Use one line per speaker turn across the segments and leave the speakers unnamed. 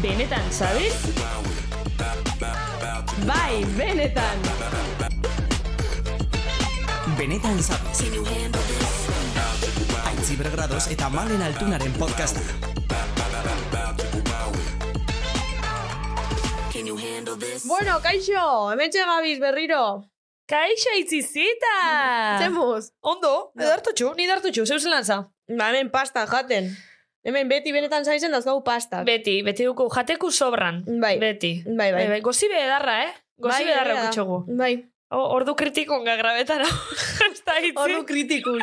Benetan, sabes? Bai, benetan!
Benetan zabez. Aitzi bergradoz eta malen altunaren podcasta.
Bueno, kaixo, hemen txegabiz berriro.
Kaixo itzizita!
Zemuz.
Ondo,
No. Edartutxu, ni dartutxu, zeus lanza. Ba, hemen pasta jaten. Hemen beti benetan zaizen dauzkagu pastak.
Beti, beti duku, jateku sobran.
Bai.
Beti.
Bai, bai.
Gozi bedarra, eh? Gozi bedarra
egia Bai, da.
gutxogu.
Bai.
Ordu kritikonga grabetara. Ez da hitzi.
Ordu kritikus,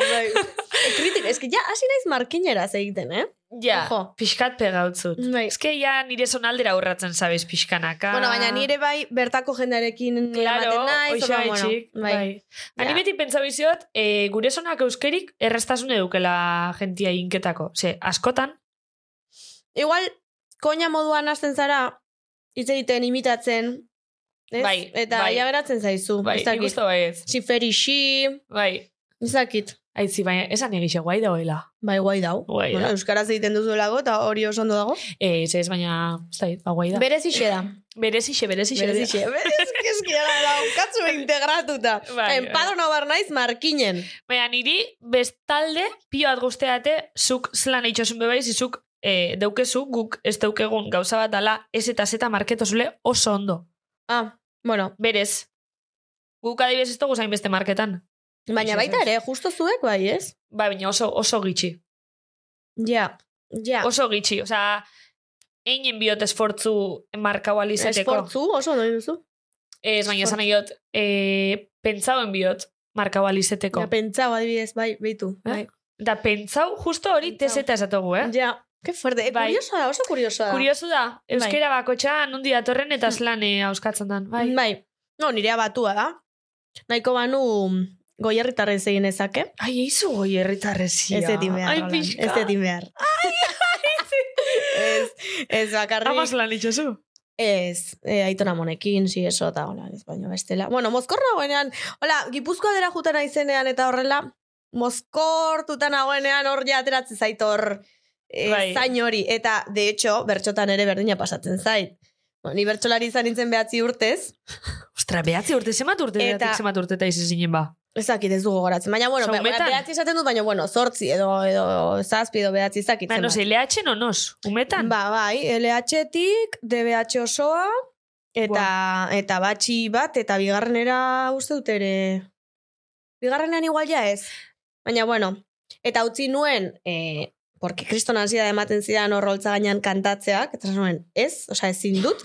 bai. e, kritik, eski, ja, hasi naiz markinera egiten, eh?
Ja,
Ojo.
pixkat pegautzut.
Bai.
Ez que ja nire zonaldera urratzen zabez pixkanaka.
Bueno, baina nire bai bertako jendarekin
Ah. Claro,
ematen naiz.
hoxe
orduan, bueno,
haitxik,
Bai.
bai. Ani
Ja.
beti pentsau iziot, eh, gure sonak euskerik errastasune dukela jentia inketako. Ze, askotan,
Igual, koña moduan hasten zara, hitz egiten imitatzen, ez?
Bai,
Eta
bai.
ja geratzen zaizu.
bai,
ez dakit.
nik uste bai ez.
Siferixi,
Bai,
ez dakit.
aitzi, baina esan egise guai dagoela.
Bai, guai dau.
Guai da.
bueno, Euskaraz egiten duzuelago eta hori oso ondo dago.
Eh, ez ez, baina, ez da, ba, guai da.
Berez ixe da.
Berezixe, berezixe.
Berez ixe. Berez ixe da, daukatzu integratuta.
Bai,
Bai, Empadona bar naiz markinen.
Baina niri bestalde pio bat guzteate zuk zelan itxosun bebaiz, zuk eh, deukezu guk ez deukegun gauza bat dala ez eta zeta marketozule oso ondo.
Ah, bueno.
Berez, guk adibidez ez dugu zain beste marketan.
Baina
Ixe
baita ere, justo zuek bai, ez?
Ba, baina oso, oso gitxi.
Ja, ja.
Oso gitxi, osea, einen biot esfortzu markau alizeteko.
Esfortzu oso ondo egin duzu.
Ez, baina esan nahi dut, eh, pentsauen biot markau alizeteko.
Ja, pentsau adibidez, bai, beitu. Bai.
Da, pentsau, justo hori
Pentsau.
tezeta esatugu, eh?
Ja, que fuerte. Eh,
Bai.
kurioso da, oso kurioso da.
Kuriosu da,
Bai.
euskera bakotxa nondi datorren eta zelan eh, auskatzen den. Bai.
Bai. No, nirea batua da. Nahiko banu goierritarrez egin ezake.
Ai, eizu goi herritarrezia.
Ez etin behar.
Ai,
Roland,
pixka.
Ez etin behar. ez, ez bakarrik.
Amaz lan itxasu.
Ez, eh, aitona monekin, si eso, eta hola, ez baino bestela. Bueno, mozkor nagoenean, hola, gipuzkoa dela jutan aizenean eta horrela, mozkor tutan nagoenean hor ja ateratzen zait hor eh,
Bai.
zain hori. Eta, de hecho, bertxotan ere berdina pasatzen zait. Bueno, ni bertxolari izan nintzen behatzi urtez,
Ostra, behatzi urte, zemat urte,
Eta-
eta... zemat urte eta izi zinen ba.
ez dakit ez du gogoratzen, baina, bueno, be,
Zaumetan?
behatzi esaten dut, baina, bueno, sortzi edo, edo, zazpi edo behatzi zakitzen.
Ba, no se, LH no nos, umetan.
Ba, bai, LH-tik, DBH osoa, eta, eta batxi bat, eta bigarrenera uste dut ere... Bigarrenean igual ja ez. Baina, bueno, eta utzi nuen, e, porque kriston hasia ematen zidan hor holtza gainean kantatzeak, eta esan nuen ez, osea ezin dut,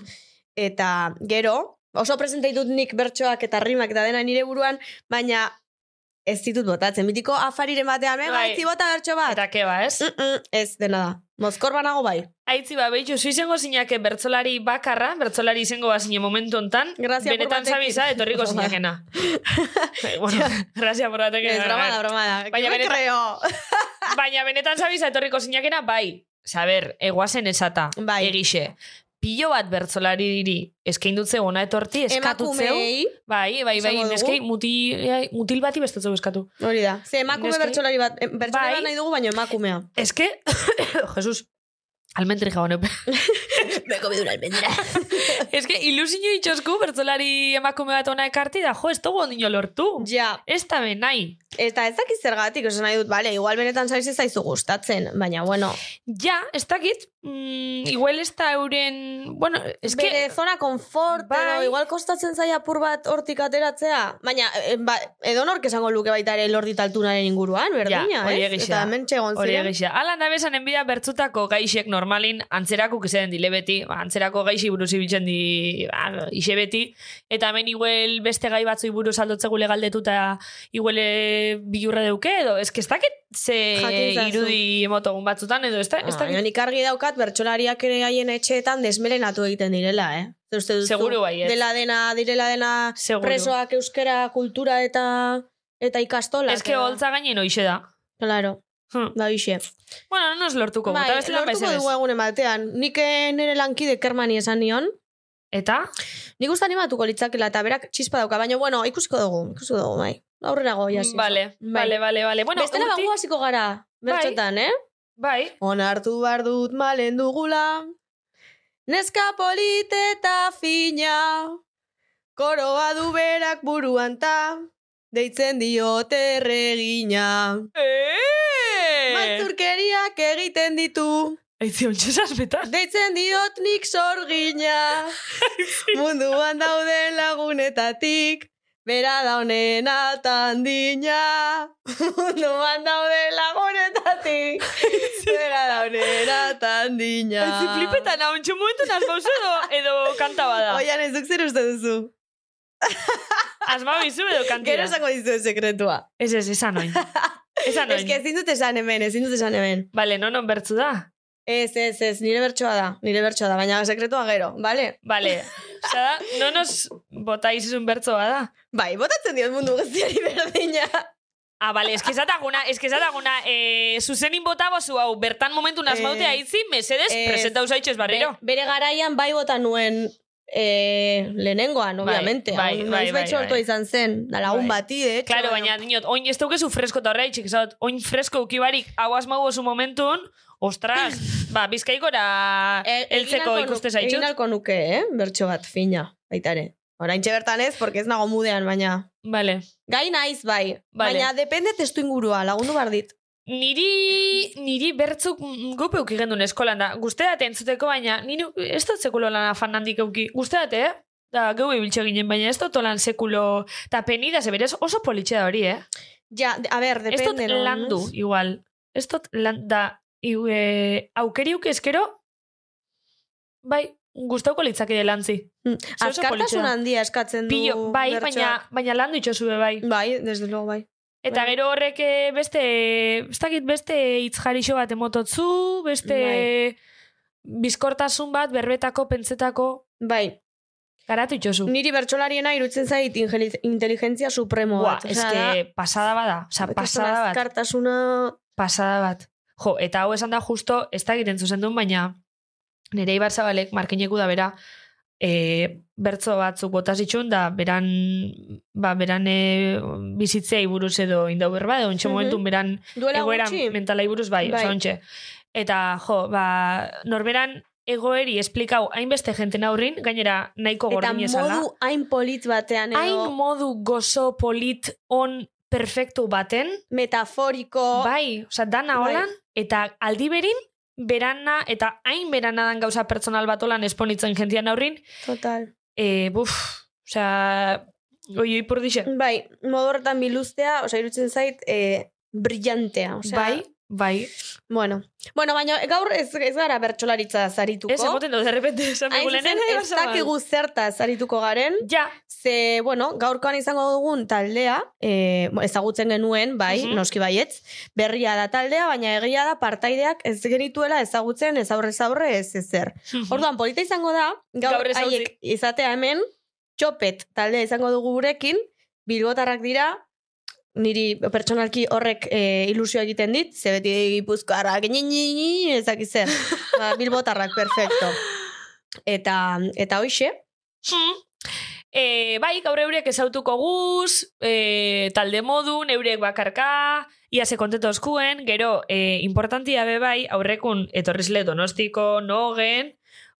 eta gero, oso presentei dut nik bertsoak eta rimak eta dena nire buruan, baina ez ditut botatzen. Mitiko afariren batean, mega,
Bai.
bai. bota bertso bat.
Eta ke ba, ez?
Mm, mm, ez, dena da. Mozkor banago bai.
Aitzi ba, behitxu, zu izango zinake bertzolari bakarra, bertzolari izango bazine momentu hontan,
Grazia apur
benetan
batekin.
zabiza, etorriko zinakena. Eh, bueno, gracia por batekin.
Ez, broma da, broma da.
Baina
Baina
benetan-
creo.
Baina benetan zabiza, etorriko zinakena, bai. Saber, eguazen esata,
Bai.
egixe. Pilo bat bertzolari diri, eskain dutzeu ona etorti, eskatutzeu.
Emakumei,
Bai, bai, bai,
Esango dugu.
neskei mutil, mutil bati bestetzeu eskatu.
hori da. Ze emakume
Neske-
bertsolari bat, em, bertsolari
Bai.
bat nahi dugu, baina emakumea.
Eske, Jesus, almentri jabon epe.
Beko bidura albendera.
Ez que ilusio itxosku bertzolari emakume bat ona ekarti da, jo, ez dugu ondino lortu.
Ja,
Ez da benai.
eta ez dakiz zergatik, esan nahi dut, bale, igual benetan saiz ez zaizu gustatzen, baina, bueno,
Ja, ez dakit, mm, igual ez da euren... Bueno, ez que...
bere zona konfort,
Bai.
edo, igual kostatzen zaia apur bat hortik ateratzea, baina, e, ba, edo nork esango luke baita ere lordi taltunaren inguruan, berdina,
hori
ez?
egia.
Eta hemen txegon
Hori
ziren.
egisa. Ala nabesan enbida bertzutako gaixek normalin antzerakuk izan dile beti, ba, antzerako gaixi buruz ibiltzen di ba, ixe beti, eta hemen iguel beste gai batzui buruz aldotzegu legaldetuta iguel eh, bilurra deuke, edo ez que ez dakit ze
Jakin zazu.
irudi emotogun batzutan, edo ez, da, ez
Ah,
dakit.
nik argi daukat bertsolariak ere haien etxeetan desmelenatu egiten direla, eh? Zer Uste duzu,
Seguru baietz.
Dela dena, direla dena
Seguru.
presoak euskera kultura eta eta ikastola.
Ez que holtza gainen hoxe da.
Claro,
Hm.
da bixe.
Bueno, no nos lortuko,
Bai,
eta beste lan
lortuko dugu
baizenez.
egunen batean. Nik eh, nire lankide kermani esan nion.
Eta?
Nik uste animatuko litzakela eta berak txispa dauka. Baina, bueno, ikusiko dugu, ikusiko dugu, bai. Aurrera goia.
Vale, vale, vale, vale. Bueno, Bai.
Bestela
urti-
bagu hasiko gara, bertxotan, eh?
Bai,
Onartu behar dut malen dugula, neska polit eta fina, koroa du berak buruan ta, deitzen diote erregina.
Eee!
Maltzurkeriak egiten ditu,
Aitzi, ontsa saspetan.
deitzen diot nik sorgina. Munduan dauden lagunetatik, bera da honena tandina. Munduan dauden lagunetatik, bera da honena tandina.
Aitzi, flipetan, ah, ontsa momentu asmauzu edo, edo kanta bada.
Oian ez duk zer uste duzu.
Asmabizu edo
Gero
kantira.
esango dizu sekretua.
Ez ez, esan oin. Esan
Ez que
oin.
ezin dut esan hemen, ezin dut esan hemen.
Bale, nonon bertzu da?
Ez, ez, ez, nire bertsoa da, nire bertsoa da, baina sekretua gero, bale?
Bale, osa da, nonos botaizun bertzo bada.
Bai, botatzen diot mundu guztiari berdina.
Ah, bale, eske esataguna, eske esataguna, eh, zuzenin bota bozu hau, bertan momentu nasmautea
Eh,
itzi, mesedes,
eh,
presenta usaitxez barriro.
Be- bere garaian bai bota nuen eh, lehenengoan,
Bai,
obviamente.
bai,
Hau,
bai,
noizbait
bai,
sortua
bai.
izan zen, da lagun
Bai.
bati, de hecho.
Claro, baina dinot, oin ez dukezu fresko eta horreitxik, esat, oin fresko ukibarik hau asmau bozu momentun, ostras, ba, bizkaikora
E- egin
eltzeko
ahalko nu-
ikuste
Egin
zaitxut.
alko nuke, eh? Bertso bat, fina, baitare. Oraintxe bertan ez, porque ez nago mudean, baina...
Bale.
Gai naiz, bai.
Vale.
Baina depende testu ingurua, lagundu behar dit.
Niri, niri bertzuk gupe euki gendun eskolan da. Guzteat entzuteko, baina niri ez dut sekulo lan afan handik euki. Guzteat, eh? Da, geu ibiltxe ginen, baina ez dut lan sekulo... Ta penida, zeberes oso politxe da hori, eh?
Ja, de- a ber,
Ez dut
depende. no?
landu, igual. Ez dut lan... Da, iu, e, aukeriuk eskero... Bai, gustauko litzakide lantzi.
Mm,
Ze oso politxea.
Askatasun handia eskatzen du
Pillo, bai,
bertsoak.
baina, baina landu itxosube, bai.
Bai, desde luego, bai.
Eta
Bai.
gero horrek eh, beste, ez dakit beste itzjarixo bat emototzu, beste bizkortasun bat, berbetako, pentsetako,
Bai,
garatu itxosu.
Niri bertsolariena irutzen zait ingeli- inteligentzia supremo
Buah,
bat.
ez que pasada bada, oza, pasada bat,
Kartasuna...
pasada bat. Jo, eta hau esan da justo, ez dakit entzuten duen, baina nire Ibar Zabalek markineku da bera, e, bertzo batzuk botaz itxun, da beran, ba, beran e, bizitzei buruz edo indau berba, edo ontsa
Mhm.
momentun beran
Duela
egoera
gutxi?
mentalai buruz bai,
Bai.
oza, ontxe. Eta, jo, ba, norberan egoeri esplikau hainbeste jenten aurrin, gainera nahiko
Eta
gordin esala.
modu hain polit batean edo
Hain modu gozo polit on perfektu baten,
metaforiko...
bai, oza, dana
Bai.
holan, eta aldi berin, berana, eta hain berana dan gauza pertsonal bat holan esponitzen jentian aurrin,
Total.
e, buf, oza, oi, oi, por dixe.
Bai, modu horretan biluztea, osea, irutzen zait, eh, brillantea. Osea,
bai, bai.
Bueno, bueno baina gaur ez, ez gara bertsolaritza zarituko.
Ez, emoten dut, de repente, esan
Hain
begulenen,
zuzen, ez dakigu zerta zarituko garen.
Ja,
Ze, bueno, gaurkoan izango dugun taldea, e, ezagutzen genuen, bai,
Mhm.
noski baietz, berria da taldea, baina egia da partaideak ez genituela ezagutzen ez aurre ez aurre ez ezer. Orduan, polita izango da, gaur,
Gaur ezagutzen.
haiek izatea hemen, txopet taldea izango dugu gurekin, bilbotarrak dira, niri pertsonalki horrek e, ilusio egiten dit, ze beti gipuzkoarrak, ni, ni, ni, ez dakit zer. ba, bilbotarrak, perfecto. Eta, eta hoxe,
Hmm. E, bai, gaur eurek ezautuko guz, e, talde modun, eurek bakarka, ia se kontento oskuen, gero, e, importantia be bai, aurrekun etorrizle donostiko, nogen,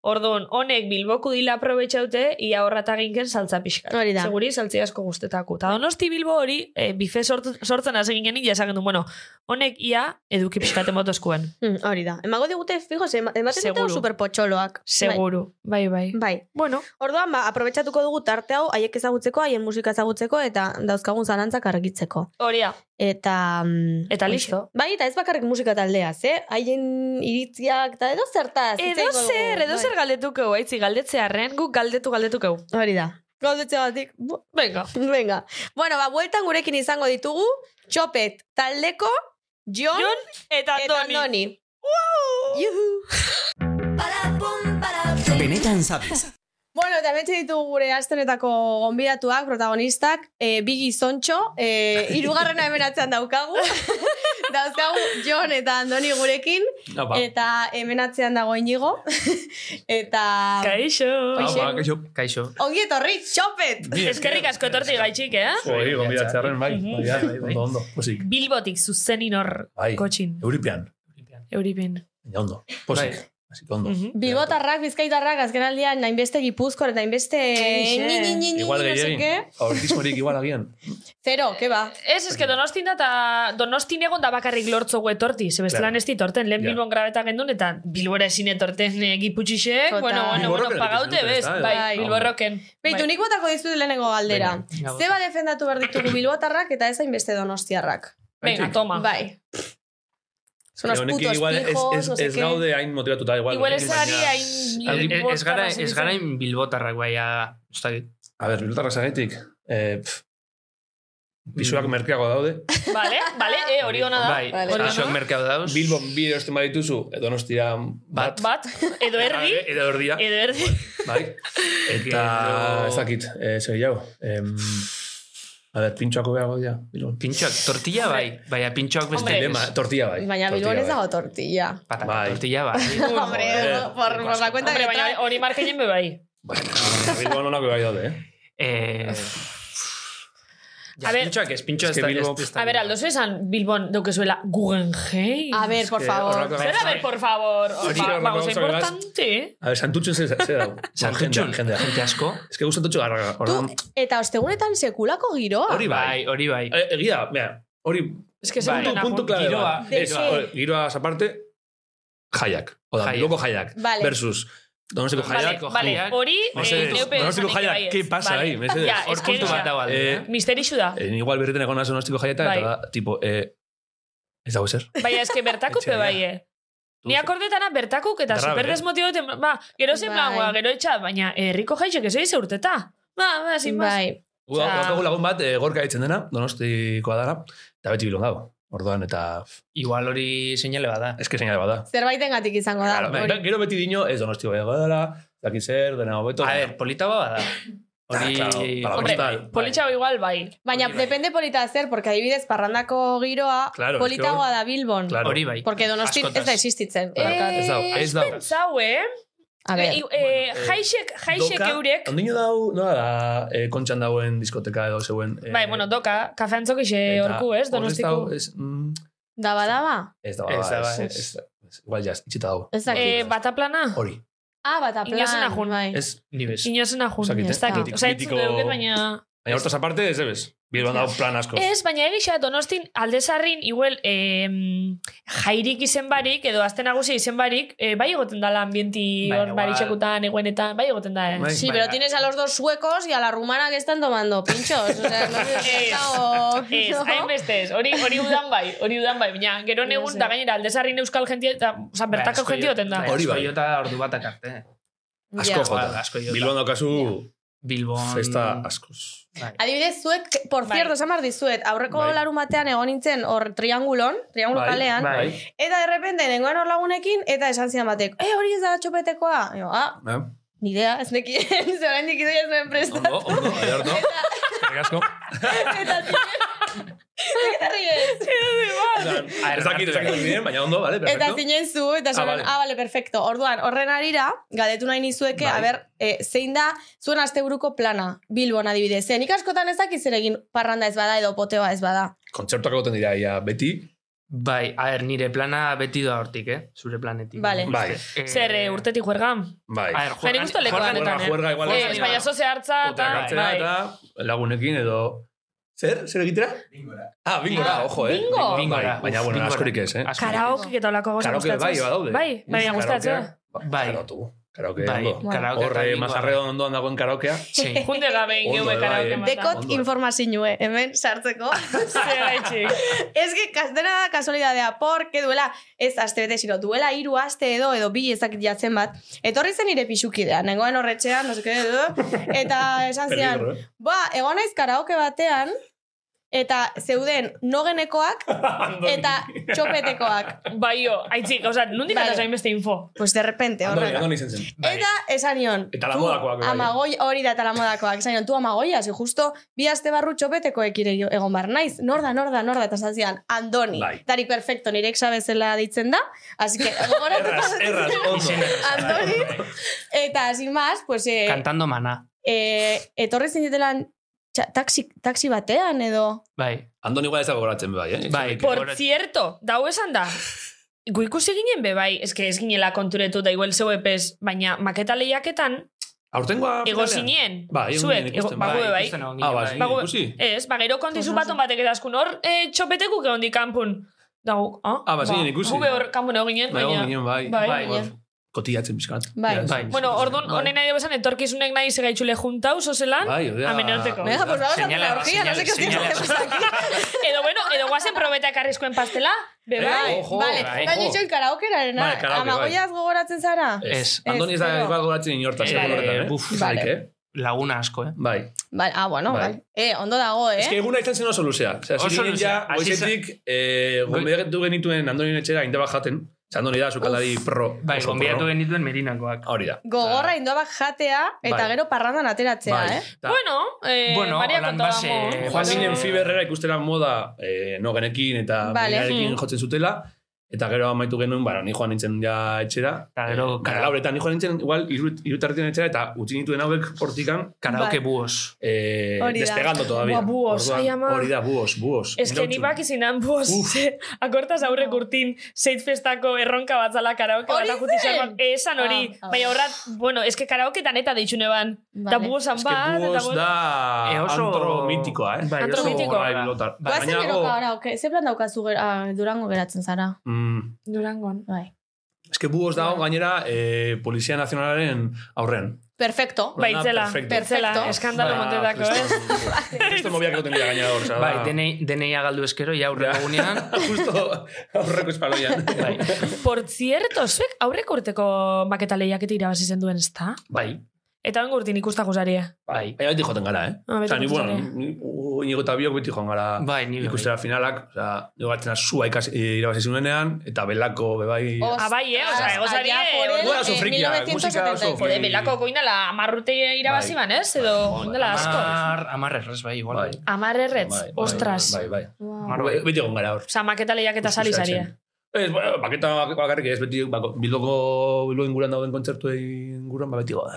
Orduan, honek bilboku dila aprobetxaute, ia horrata ginken saltza pixka.
Hori da.
Seguri, saltzi asko guztetako. Ta donosti bilbo hori, e, bife sort, sortzen hasi ginen, ia esagen du, bueno, honek ia eduki pixkate motoskuen.
Hmm, hori da. Emago digute, fijo, ze- ematen
Seguru.
dute superpotxoloak.
Seguru. Bai, bai.
Bai. bai.
Bueno,
Orduan, ba, aprobetsatuko dugu tarte hau, haiek ezagutzeko, haien musika ezagutzeko, eta dauzkagun zalantzak argitzeko.
hori da.
Eta... mm,
Eta
hoxe.
listo.
Bai, eta ez bakarrik musika taldeaz, eh? Haien iritziak, eta edo zertaz. hitz
Edo
egingo dugu.
zer, edo
Bai.
zer galdetuko, aitzi, galdetzea guk galdetu galdetuko.
Hori da. Gaudetxe batik. bu-
Venga.
Venga. Bueno, ba, bueltan gurekin izango ditugu, txopet taldeko, Jon,
Jon Eta
eta
Andoni.
Andoni. Juhu!
Benetan sabes.
Bueno, eta hemen ditugu gure astenetako gonbidatuak, protagonistak, e, bi gizontxo, e, irugarrena hemen atzean daukagu, dauzkagu Jon eta Andoni gurekin,
Apa.
eta hemen atzean dago inigo, eta...
Kaixo.
Hoxe.
ba,
Apa, kaixo. Kaixo.
Ongi etorri, txopet!
Eskerrik asko etorti gaitxik, eh?
Oi, gombidatzearen, bai.
Mhm.
Bai, bai, bai. Ondo, ondo. Musik.
Bilbotik zuzenin hor
Bai.
kotxin.
Euripean. Euripean.
Euripin.
Baina ondo, posik.
Bai.
Así que
Mm,
ondo.
Mhm.
Bigotarrak, bizkaitarrak, azkenaldian, nainbeste gipuzkor, eta inbeste...
Eixe.
Ni, ni, ni, ni,
Igual
no sé
gehiagin.
qué.
Autismorik igual agian.
Zero, ke ba.
Ez, eske donostin da, eta donostin egon da bakarrik lortzo gu etorti, ze bestela
Claro.
ez dit torten, lehen
Ja.
bilbon grabeta gendun, eta bilbora ezin etorten e, giputxixek,
Total.
bueno, bueno, bueno,
Bilborroken
pagaute
egiten dute,
bez,
ezta?
bai,
Bai.
bilborroken.
Beitu,
Bai.
nik botako dizut lehenengo galdera.
Venga.
Zeba defendatu behar ditugu bilbotarrak eta ez hainbeste donostiarrak.
Venga, toma.
Bai. Son los
Baina honekin
putos
igual ez-
pijos,
ez,
no
ez,
sé qué.
gaude hain motivatuta, igual.
Igual ez
honekin,
ari
baina-
hain...
Aldi-
Ez gara, ez gara
hain...
in bilbotarrak bai, ah, ez dakit.
A ber, bilbotarrak zagaitik. Eh, pff, pisuak
Mm.
merkeago daude.
Vale, vale, e, hori ona da.
Bai,
Vale.
Hori ona.
pisuak merkeau dauz.
Bilbon bi erosten badituzu, edo nostira bat,
Bat, edo erdi,
Ah, edo erdia,
edo erdi.
bai. Eta,
Gero-
ez dakit, eh, zer gehiago. Em, a ber, pintxoako behago dira, Bilbon.
Pintxoak, tortilla bai, baina pintxoak beste
Hombre.
ez.
Lema, tortilla bai.
Baina
tortilla
Bilbon ez
bai.
dago tortilla.
Patata,
Bai.
tortilla bai.
Hombre,
Joder.
por, por la cuenta
Hombre,
que
baina
trae.
hori markeinen be bai.
Baina, Bilbon honako bai daude, eh?
Eh,
A
ja,
ver-
pintxoak ez, pintxoak
Es que
ez da.
Bilbo-
ez- ez da-
A ber, aldozu esan Bilbon daukezuela Guggenheim.
A ver, por
que
favor.
horrako-
Zer, a ver, por favor.
Hori
Ba-
horrelako
Bagoza
gauza beraz.
importante, eh?
A ber, santutxun ze, ze dago.
Santutxun,
Jendea, jendea.
jente asko.
Ez que gustantutxu garra.
Tu,
orduan-
eta ostegunetan sekulako giroa.
Hori bai, hori bai.
Eh, Egia, mea, hori
Es que
Bai.
según
puntu, puntu clave.
Giroa,
bat. Ez,
giroa.
hori, giroa aparte, jaiak. Oda,
Jaiak.
Bilboko jaiak.
Vale.
Versus, donoseko
Vale,
jaiak.
Jaiako
vale,
jaiak.
hori eh,
Mesedez,
neupe
Donostiko
esanik
jaiak,
baietz.
¿qué pasa
Vale.
ahí? Mesedez.
Ja,
Hor
es que
puntu bat
ja,
dago alde.
Eh,
eh?
misterixu da.
Eh, igual berriten egon nazo nostiko jaietan,
Bai.
eta da, tipo, eh, ez dago ezer.
Baina, eske bertako pe
Etxea,
bai, eh. Ni akordetana bertakuk eta
Darra,
super
bere.
desmotibatu, ba, gero zen
Bai.
blagoa, gero Eh, etxa, baina herriko jaixek ez eize urteta. Ba, ba, sin más.
Bai.
Gu
Osea-
daukagu lagun bat, eh, gorka ditzen dena, donostikoa dara, eta beti bilon dago. Orduan, eta
Igual hori seinale bada.
eske zeinale bada.
Zerbaiten gatik izango da.
Claro, bai,
hori.
gero beti dino, ez donostiko gehiago dela, daki zer, dena hobeto.
A ver, polita ba bada. Hori...
Ah, claro, para
hori
postal.
bai.
Politxago igual, bai.
Baina
Hori bai.
depende polita zer, porque adibidez parrandako giroa
Claro,
politagoa
es
da Bilbon.
Claro.
Hori bai.
Porque donosti ez da
Askotaz.
existitzen.
Claro,
Eh,
ez dago, ez dago.
Pentsau, eh?
A
Eh,
ver,
eh, jaixek, jaixek
Doka,
eurek.
Ondino dau, nola da, eh, kontxan dagoen diskoteka edo zeuen. Eh,
Bai, bueno, doka, kafe antzok ixe
eta
horku, ez,
hor
donostiko.
dau, Ez, mm,
daba daba.
ez da, ez
Ez da,
bai.
da,
ba,
ez, ez, ez, igual jaz, itxita dago.
ba? Ez dakit.
ba-
Eh, bataplana?
Hori,
Ah, bat aplan.
Inozena joan.
bai.
ez,
Ni bez.
Inosena jun,
Zakit,
ez
eh?
dakit.
Ah.
Osa, ez
Mitiko-
dut, baina...
baina hortaz aparte, ez ebes. Bilbon dago plan asko.
Ez, baina egisa donostin aldezarrin, igual, em, jairik izen barik, edo azte nagusi izen barik, eh, bai egoten dala ambienti
Bai,
hor
igual.
baritxekutan, eguenetan, bai egoten da, eh?
Bai.
Sí, pero
Vaya.
tienes a los dos suecos y a la rumana que están tomando pinchos. O sea, no sé si
Es,
está o-
Ez,
¿no?
hainbeste ez, hori, hori udan bai, hori udan bai, baina gero
No
negun,
sé.
da gainera aldezarrin euskal jentia, eta, oza, bertako
Ba, asko
jentia oten da.
jo-
Hori bai.
Asko jota ordu eh. bat akarte.
Ya.
Asko jota.
Asko jota.
Bilbon daukazu
Bilbon...
festa askoz.
Bai.
Adibidez, zuek, por
Bai.
cierto, esan behar dizuet, aurreko
Bai.
larun batean egon nintzen hor triangulon, triangulo
Bai,
kalean,
Bai.
eta de repente nengoen hor lagunekin, eta esan zidan batek, eh, hori ez da txopetekoa. Ego, ah,
Eh?
ni idea, ez nekien, ze oraindik idoia ez nuen presta.
Ondo, ondo, aior, no? Eskerrik asko.
Eta zinen,
Ez dakit, ez dakit hori diren, baina ondo, vale,
eta
perfecto.
zinen zu, eta zinen, ah,
vale.
vale. perfecto. Orduan, horren arira, galdetu nahi nizueke,
Bai.
a ber, eh, zein da, zuen asteburuko plana, Bilbon adibidez. Zen askotan ez dakiz zer egin parranda ez bada edo poteoa ez bada.
Kontzertuak egoten dira, ia, beti.
Bai, a ver, nire plana beti doa hortik, eh? Zure planetik.
Vale.
Bai.
Eh,
Zer, eh, urtetik juergan?
Bai.
A ver,
Neri gusto leko
Jorgan-
honetan, eh?
juerga, igual.
Ez, baina zoze hartza,
Puta,
eta...
Galtzera
bai.
eta lagunekin edo... Zer? Zer egitera? Bingora. Ah, bingora,
Ah,
ojo, eh?
bingo.
Bai,
Bingora.
baina, bueno,
Bingora.
askorik ez, eh?
Askorik.
Karaoke eta olako gauza
Karaoke bai, badaude.
Bai, bai, baina gustatzen.
Bai.
Karaoke, karaoke,
Bai,
ondo.
karaoke eta
Horre,
bingoa.
mazarredo ondoan dagoen karaokea.
Sí.
Junte gabe
Ondo,
geube
bai,
karaoke
eh.
mata.
Dekot
Ondo.
informazinue, hemen sartzeko.
Zer, bai, txik.
Ez que kas- dena da kasualidadea, porque duela, ez aste bete, sino duela hiru aste edo, edo bi ezakit jatzen bat, etorri zen nire pixukidea, nengoen horretxean, no seke, edo, eta esan zian,
Peligro, eh?
ba, egon naiz karaoke batean, eta zeuden nogenekoak eta txopetekoak.
Bai, jo, aitzik, oza, nondik
Vale.
vale. zain beste info?
Pues de repente,
Andoni,
horrela.
Andoni zen zen.
Bai.
Eta esan nion,
Eta la
"Tu,
modakoak, bai.
Amagoi, hori da, eta la modakoak. Esan nion, tu amagoia, ze justo bi aste barru txopetekoek ire jo- egon bar naiz. Norda, norda, norda, eta esan zidan, Andoni.
Bai.
Tarik perfecto, nire exabezela deitzen da. Así que, gogoratuko
Erraz,
dut.
erraz, Bai, ondo.
Andoni. Eta, sin más, pues, eh,
Cantando mana.
eh, etorri zinetelan txa- taxi, taxi batean edo.
Bai.
Andoni igual ez dago goratzen, bai, eh?
Bai.
Por
Gora-
cierto, dau esan da. Gu ikusi ginen be, bai, eske ez ginela konturetu da igual zeu epez, baina maketa lehiaketan,
Aurtengoa...
ego
finalean?
zinen,
Bai, egon
zuek,
ginen ikusten,
ego- bagu be, bai.
ikusten egon
Ah,
ginen,
ba,
bai.
zuen
Bago-
ikusi?
Ez, ba, gero kontizu baton batek edaskun hor, e, txopetekuk egon di kanpun. Da guk, ah?
Ah, ba, zinen ikusi.
Gube hor kanpun egon ginen,
Bai, egon
baina...
ginen, bai.
Bai,
baina.
Kotiatzen bizkat.
Bai.
Ja,
Bai.
Bueno, orduan,
Bai.
honen nahi bezan, etorkizunek nahi segaitxule juntauz, ozelan,
Bai, odea.
amenarteko.
Venga, pues vamos a hacer
Señala,
la orgía, no sé qué os
señala,
digo.
edo, bueno, edo guazen probeta ekarrizkoen pastela, bebai.
Eh, ojo,
Vale,
bai,
eta nitxo karaokeraren,
Vale, karaoke, bai.
amagoiaz gogoratzen zara?
Ez,
Andoni ez da
Ez,
igual goratzen inorta,
Eh,
zeko horretan, eh?
buf,
Vale.
Zaik, eh?
laguna asko, eh?
Bai.
Vale, ah, bueno,
Bai.
bai. Eh, ondo dago, eh?
Ez que eguna izan zen oso luzea. Osea,
Oso
hasi ginen
luzea.
ja,
Hasi zen-
goizetik, eh, gombiatu genituen Andoni etxera indabak jaten. Osea, Andoni da, sukaldari pro.
Bai,
oso
gombiatu
pro.
genituen merinakoak.
Hori da.
Gogorra indoabak jatea eta
Ah. Bai.
gero parrandan ateratzea,
Bai.
eh?
Ta- eh,
Bueno, eh,
Bueno,
Maria
holan
kontaba
base-
mo.
base-
Joan ginen fiberrera ikustera moda eh, nogenekin eta
Vale.
vale. jotzen zutela. Eta gero amaitu genuen, bara, ni joan nintzen ja etxera.
Eta gero
Eh,
kara-
lauretan ni joan nintzen, igual, irutarretan etxera, eta utzi nituen hauek hortikan,
Bai.
Karaoke buos.
eh,
Hori da.
despegando todavía.
Buah, buos,
Orduan,
ai, ama.
Hori da, buos, buos.
Ez que ni
Irautzu.
bak izinan buoz,
Uf.
ze, akortaz aurrek urtin, zeit festako erronka batzala karaoke
Hori
bat akuti
zen!
xarmak. Esan hori,
Ah, ah.
baina horrat, bueno, ez que karaoketan eta deitxune ban. Eta
Vale.
buozan
Ez que
bat, eta
buos
buos-
da
Eh, oso-
antro mitikoa, eh?
Bai,
Antro
oso
mitikoa
gorai
da.
pilotan.
Bai.
Goazen
Baina,
gero
oh,
karaoke. Ze plan daukazu ger- ah, durango geratzen zara?
mm,
Durangon.
Bai.
Ez que buos dago gainera eh, Polizia Nazionalaren aurren.
Perfecto.
Bai.
Baitzela,
perfecto.
baitzela,
Perfecto.
eskandalo
Ba,
montetako, Ah, eh?
eh? Justo mobiak egoten dira gainera hor, osea,
Bai,
da-
denei, denei agaldu eskero, ja aurre
Ja.
egunean.
Justo aurreko espaloian.
Bai,
Por cierto, zuek aurreko urteko maketa lehiaketa irabazi zen duen, ezta?
bai.
Eta bengo urtin ikustako zaria.
Bai.
Baina beti joten gara, eh?
Ah, beti
Osa, ni,
joten
bueno,
zara.
ni- u- Iñigo eta biok beti joan gara
Bai, ni bai.
ikustera finalak. Osa, nigo gatzena sua ikas, irabazi zuenean, eta bai, belako, bebai...
Os-
Abai, eh? Osa,
Allá
egozari,
por el,
eh?
Bueno, oso
eh,
frikia, musika oso
1973.
Jode, belako goindala, amarrute irabazi
Bai.
ban, ez? Edo, goindala asko.
Amar, amar errez, bai, igual.
Bai.
Bai.
Amar erretz,
Bai, bai,
ostras.
Bai, bai.
Wow.
Mar-
Be- Beti egon gara hor.
Osa, maketa lehiaketa sari zaria.
Ez, bueno, baketa bakarrik ez, beti bako, Bilboko Bilbo inguran dauden kontzertu inguran, ba, beti goa.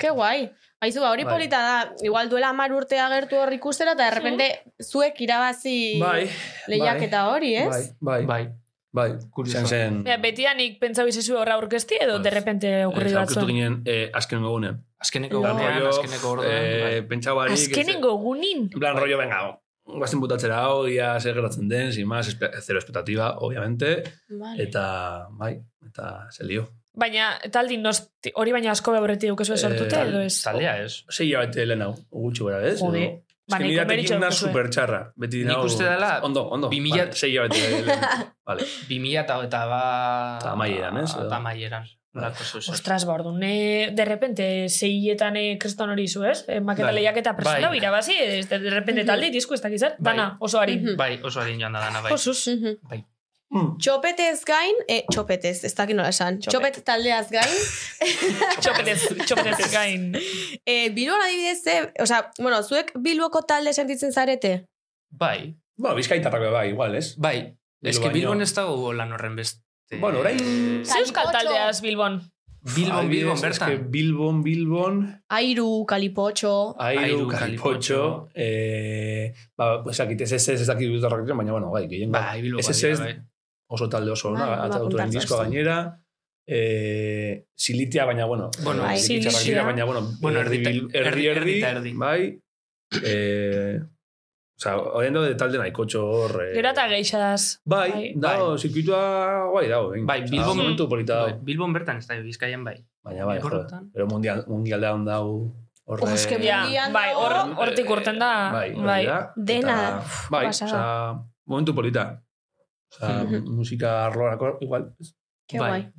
Qué guai. Aizu, ba, hori
Bai.
polita da. Igual duela amar urte agertu hor ikustera, eta de repente zuek irabazi
Bai,
lehiaketa hori, ez?
bai, bai, bai,
Bai.
bai,
Kurioso.
izan zen...
Bea, betianik pentsau izesu horra aurkezti edo
Bai.
derrepente Bai, okurri
Ez,
bat
aurkitu
zuen.
ginen eh, azkenengo gunean.
Azkeneko
Lo-
gunean, Bai.
Rollo,
azkeneko orduan.
eh,
bai.
pentsau barik, ez-
Azkenengo gunin.
En plan, rollo, venga, guazen butatzera hau, ia zer geratzen den, sin más, espe- zero expectativa, obviamente,
Vale.
eta, bai, eta se lio.
Baina, taldi, nosti, hori baina asko behoretik dukezu sortute
Eh,
edo ez?
Taldea ez.
Sei hilabete lehen hau, gutxi gara, ez?
Jode.
Edo-
Ba,
Ez que
nahiko
nire atekin
meritxo
una
daukazue.
supertxarra. Beti
Nik
nago-
uste dela
Ondo, ondo.
bi mila-
Vale, sei hilabete lehen. Vale.
2000 eta eta ba...
Eta amaieran, ez, edo?
Eta amaieran.
Bai.
Lako zuzen.
Ostras, ba, orduan, eh, de repente, seietan eh, kriston hori zu, ez? Eh, maketa
Bai.
lehiaketa presona
Bai.
birabazi, ez, eh, de repente
Mhm.
talde, disko ez dakizar,
Bai.
dana, oso ari.
Mhm.
Bai, oso harin joan da dana, bai.
Osuz.
Mhm.
Mm.
Txopetez gain, eh, txopetez, ez dakit nola esan. Txopet taldeaz gain,
Txopetez, txopetez gain.
eh, Bilbon adibidez, eh, osea, bueno, zuek Bilboko talde sentitzen zarete?
Bai,
Bueno, bizkaitarrak be bai, igual, ez?
bai. Ez que
Bilbaino.
Bilbon ez dago lan horren beste.
Bueno, orain-
Ze euskal
Kalipotxo.
taldeaz, Bilbon?
Eh, Bilbon, Bilbon,
Adibidez,
bertan.
es que Bilbon, Bilbon,
Airu, kalipotxo,
airu,
Airu,
kalipotxo,
Kalipotxo.
eh, ba, pues, akit, ez ez ez dakit bilbotarrak diren, baina, bueno, bai, gehien
Bai, Bilbon.
Ez, ez, ez. oso talde oso,
Bai,
ona,
ba,
atzatu duen
apuntartza,
diskoa
ez.
gainera, eh, silitia, baina, bueno,
Bueno,
eh,
Silitia.
txarrak dira, baina, bueno,
Bueno,
erdi,
erdi-
bil- erdi,
erdi-
erdi,
erdi- erdi.
bai, eh, oza, horien daude talde nahikotxo hor, eh,
Gero eta geixadaz.
bai, dago, zirkuitua guai dago, egin.
Bai,
Oza,
Bilbon-
momentu polita
Bai,
dago,
Bilbon bertan ez da, Bizkaian bai.
baina, bai, joder,
Bilborretan.
pero mundial, mundialdean dago, horre,
Oh, eske
Ja,
Mendian
bai, hor,
dago.
hortik urten da.
bai, hori
bai.
da,
dena
eta,
da, uf,
bai,
pasada.
oza, momentu polita, Osa,
Mhm.
musika arlorako, igual,
Qué
Bai.
guai.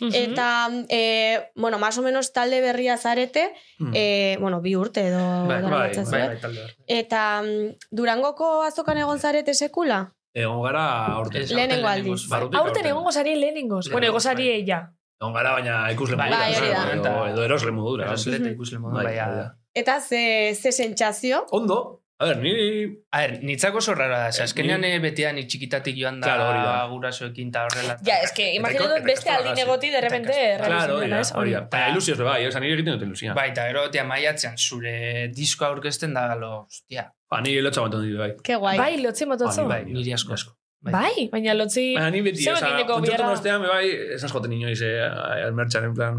Mhm.
Eta, eh, bueno, más o menos talde berria zarete,
Hmm.
mm,
eh, bueno, bi urte edo
Bai,
daramatzazu,
Bai,
eh?
bai, talde hor.
Eta mm, Durangoko azokan egon zarete sekula?
egon gara aurten.
Ez,
Lehenengo
aurten
aldiz.
bai.
Barrutik
Aurten egongo zari lehenengoz.
Lehenengoz,
Bueno, ego zari
bai.
eia.
Egon gara, baina ikusle
Bai,
modura.
bai, hori da.
edo, edo erosle modura.
Erosle eta ikusle modu,
Ah, Bai,
bai.
bai,
a-
bai.
Eta ze, ze sentsazio?
Ondo, a ber, niri...
A ber, nitzako oso rara da, ze azkenean
ni-
eh, betean itxikitatik joan da,
Claro, hori da.
gurasoekin eta horrela.
Ja, ez que, imagina dut beste aldin egoti, de repente,
Claro, hori da,
ez?
hori da. Baina ilusioz, bai, oza, niri egiten dut ilusia.
Bai, eta gero, tia, maiatzean, zure diskoa aurkezten da, galo, hostia.
Ba, niri lotxa bat dut, bai.
Ke guai.
Bai, lotzi mototzo.
Bai,
Bai, niri asko.
asko.
Bai, baina lotzi...
Baina ni beti,
Zer
oza,
egiteko
kontzertu
biarra?
ostean, be bai, esas joten inoiz, eh, almertxan, en plan,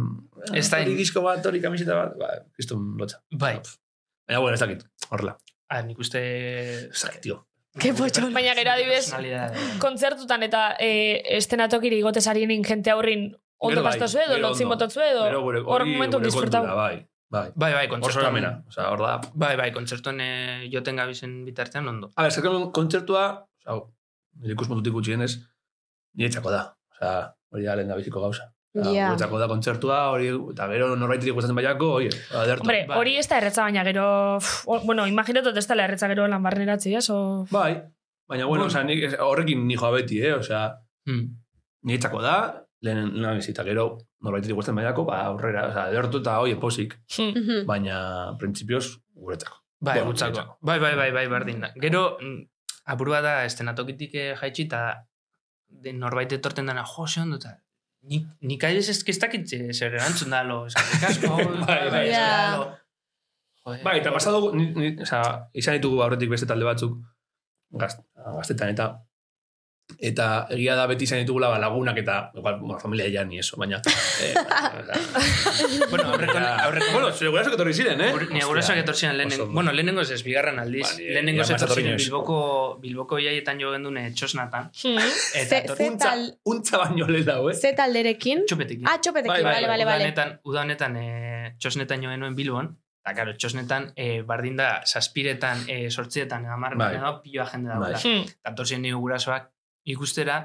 eh,
Ez da-
hori disko bat, hori kamiseta bat, ba, kriston lotxa.
Bai.
Baina, bueno, ez dakit, horrela,
Ah, nik uste...
ez dakit, tio.
Ke potxon. Baina gero adibidez-
Personalidade.
Kontzertutan eta e, estenatokiri igotez arienin jente aurrin ondo
Gero bai,
pastozu edo,
gero
lotzi
ondo.
mototzu edo,
Gero gure,
hor
hori
momentu
gure
disfrutau.
kontura, bai, bai.
Bai, bai,
Hor
kontzertuan.
soramena, oza, hor da.
Bai, bai, kontzertuan eh, joten gabizen bitartean ondo.
A ber, zerkan kontzertua, oza, nire ikusmuntutik gutxienez, nire txako da, oza, hori da lehen da biziko gauza. Oza,
Ja.
Gure txako da kontzertua, hori, eta gero norbaitirik gustatzen baiako, oie, aderto.
Hombre,
Bai.
hori ez da erretza baina gero... pff, hor- bueno, imaginatu ez da la erretza gero lan barneratzi, ez? O...
Bai, baina, bueno, oza, nik, ez- horrekin ni joa beti, eh, oza,
Hmm.
niretzako da, lehen lehen bizita, gero norbaitirik gustatzen baiako, ba, aurrera, oza, aderto eta oie posik,
Hmm.
Ba,
Mhm.
baina, printzipioz, guretzako.
Bai,
Bueno,
gutzako.
guretzako.
Bai, bai, bai, bai, berdin da. Gero, mm, apur bat da, estenatokitik eh, jaitsi eta de- norbait etorten dana, jo, ze ondo, eta nik, nik adibidez ez ez dakit eh, zer erantzun da, lo, eskerrik asko,
Bai, bai.
ez
Ja.
da, lo. Joder.
Bai, eta pasa dugu, ni, ni, oza, izan ditugu aurretik beste talde batzuk, gaz, gaztetan eta eta egia da beti izan ditugula ba, lagunak eta igual, bueno, familia ja ni eso, baina eh,
Bueno, aurreko, aurreko,
bueno, zure gurasoak etorri ziren, eh?
Ni agurasak etorri ziren lehenen,
oso ondo.
bueno, lehenengo ez, bigarren aldiz.
Ba, ni-
lehenengo
ni
etorri
amazatorri
ziren
nioiz.
Bilboko, Bilboko iaietan jo gendune txosnatan.
Hmm.
Eta
Ze-
etorri
ze
Untza,
tal,
untza baino lehenago, eh?
ze talderekin?
txopetekin.
Ah,
Bai,
txopetekin,
Bai,
bale, bale,
Uda
bale.
honetan, uda honetan eh, txosnetan jo genuen Bilbon, eta karo, txosnetan eh, bardin da, saspiretan, eh, sortzietan, amar,
Bai.
bai. piloa jende da.
Bai.
Bai.
Hmm.
Tantor ziren nire gurasoak ikustera,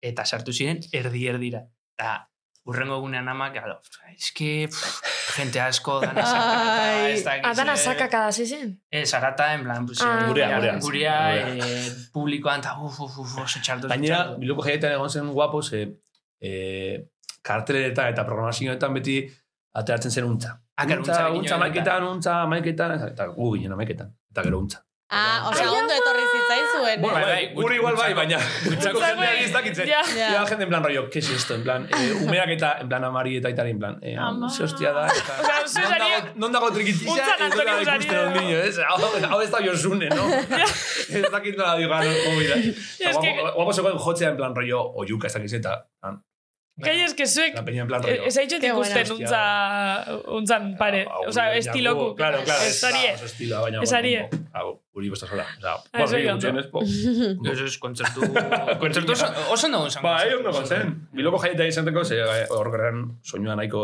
eta sartu ziren erdi erdira. Eta urrengo egunean amak, galo, eske, pff, jente asko, dana sakata,
Ai.
ez dakit
Adana
zer."
sakaka da zizen?
Eh, sakata, en plan, pues,
Ah.
eh,
Gurea,
gurea.
gurea,
Gurea.
eh, publikoan, eta uf, uf, uf, oso txartu. oso
Gainera,
txartu.
biloko jaietan egon zen guapo, ze eh, karteleretan eta programazioetan beti ateratzen zen untza.
Ah, claro,
untza,
untzarekin
untza
joan
maiketan, untza maiketan, eta gu ginen amaiketan, eta gero untza.
Ah, osea, ondo etorri zitzaizuen.
Bueno,
Bai,
bai,
bai,
gure igual bai, baina gutzako
Gutzako
jendeari ez
ez,
dakitzen.
ja.
Ja.
Ja.
jende en plan rollo, ¿qué es esto? En plan, eh, umeak eta, en plan, amari eta aitari, en plan, eh,
Ama.
ze hostia da, eta...
Osea, zu
non
sari-
dago- Non dago trikitixa,
Untza
ez
Antonio
dela
Usari
ikusten
edo.
un niño, ez? Hau- Hau ez da josune, no? Ez dakit nola digan, jovida.
Es que-
Guapo zegoen jotzea, en plan, rollo, oiuka, ez dakit eta,
Gai eske zuek
la peña, en plan, rollo.
Ez haitxot
Qué buena.
ikusten untza, untzan pare.
hau- hau-
Osa,
ja,
estiloku.
gu- Claro, claro.
Ez zarie.
Ez estiloa, baina...
Ez zarie.
bueno, hau, Uri bosta sola.
Ah, ez zaie ondo.
Eso es kontzertu... kontzertu oso, oso ondo gonsan.
Ba, egin ondo zen. Biloko jaietan izateko, ze eh, hor gerran soinua nahiko...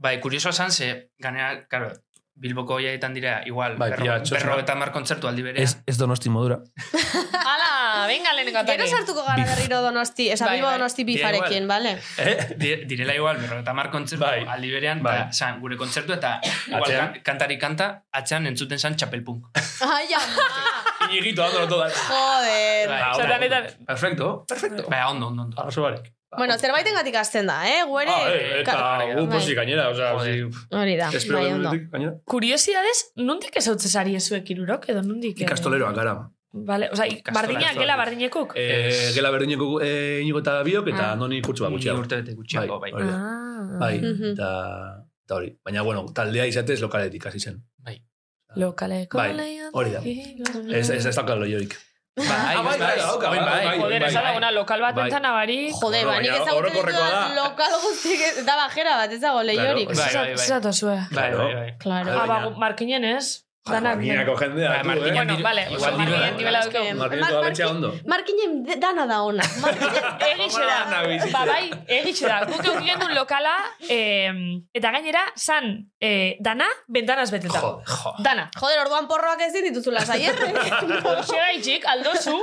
Bai, kuriosoa zan, ze, ganea, claro, Bilboko oiaetan dira, igual,
Bai,
berro,
pila txosna.
berro eta mar kontzertu aldi berean.
ez donosti modura.
Ah,
Ala, venga lehenengo
Gero
atake.
sartuko gara berriro donosti, esa
Bai,
bilbo
bai.
donosti
Dira
bifarekin, bale?
Eh?
Di- Direla igual, berro eta mar kontzertu
Bai.
aldi berean,
Bai.
eta zan, gure kontzertu eta igual,
Atzean.
kan- kantari kanta, atzean entzuten zan txapelpunk.
Ai, ama,
Iñiguito, dándolo todo.
joder.
Bai.
ondo.
Satanetan.
Perfecto, perfecto.
Bai, ondo, ondo, ondo.
Arraso barek.
Bueno, zerbaiten gatik azten da, eh, guere.
Ah, eh,
Ka-
eta gu posi gainera, o sea, si...
Hori da,
Espero
bai,
que
ondo.
dutik, gainera.
Kuriosidades, nundik ez hautzez ari ezuek irurok, edo nundik? eh?
Ikastoleroak gara.
Vale, oza,
Ikastola,
bardinak,
ikastola.
gela bardinekuk?
Eh, gela berdineko eh, inigo eta biok,
Ah.
eta noni kutsu bat
Ni
gutxiago.
urte bete gutxiago, bai.
hori da.
Ah,
Bai,
Mhm.
eta eta hori. Baina, bueno, taldea izatez lokaletik hasi zen.
lokaleko
Bai,
lehian-
hori da. Ez, ez, ez dakal loiorik.
Bai,
Ah, bai, bai, dauka,
bai,
bai,
bai,
Joder,
bai,
esan
bai.
laguna, lokal bat
Bai.
entzan abari.
Joder, ba,
Horro,
nik
baina
ezagutu
orokorrekoa
ditudan
da.
lokal guztik, ez- da bajera bat, ez dago lehiorik.
Claro,
Bai, bai, bai.
Zeratu zuen.
Bai, bai, bai.
Claro.
Bai,
Ah, ba,
baina-
markinen ez. Danak.
Markinako jendea,
Bai,
tu,
Markinak
eh?
Bueno,
Diru-
vale,
igual
oso
diru-
markinen dibela
Es que-
dauzkagu.
Markinako
Mar-
abetzea
Markin-
ondo.
Markinen de- dana da ona. Markinen
Egixe da.
Ona bizitzen.
Ba, bai, egixe da. Guk euk gendun lokala, em, eta gainera, san, eh, dana, bentanaz beteta.
Joder,
Jo.
Dana.
Joder, orduan porroak ezin dituzula saierrek.
Hortxegaitxik, aldozu,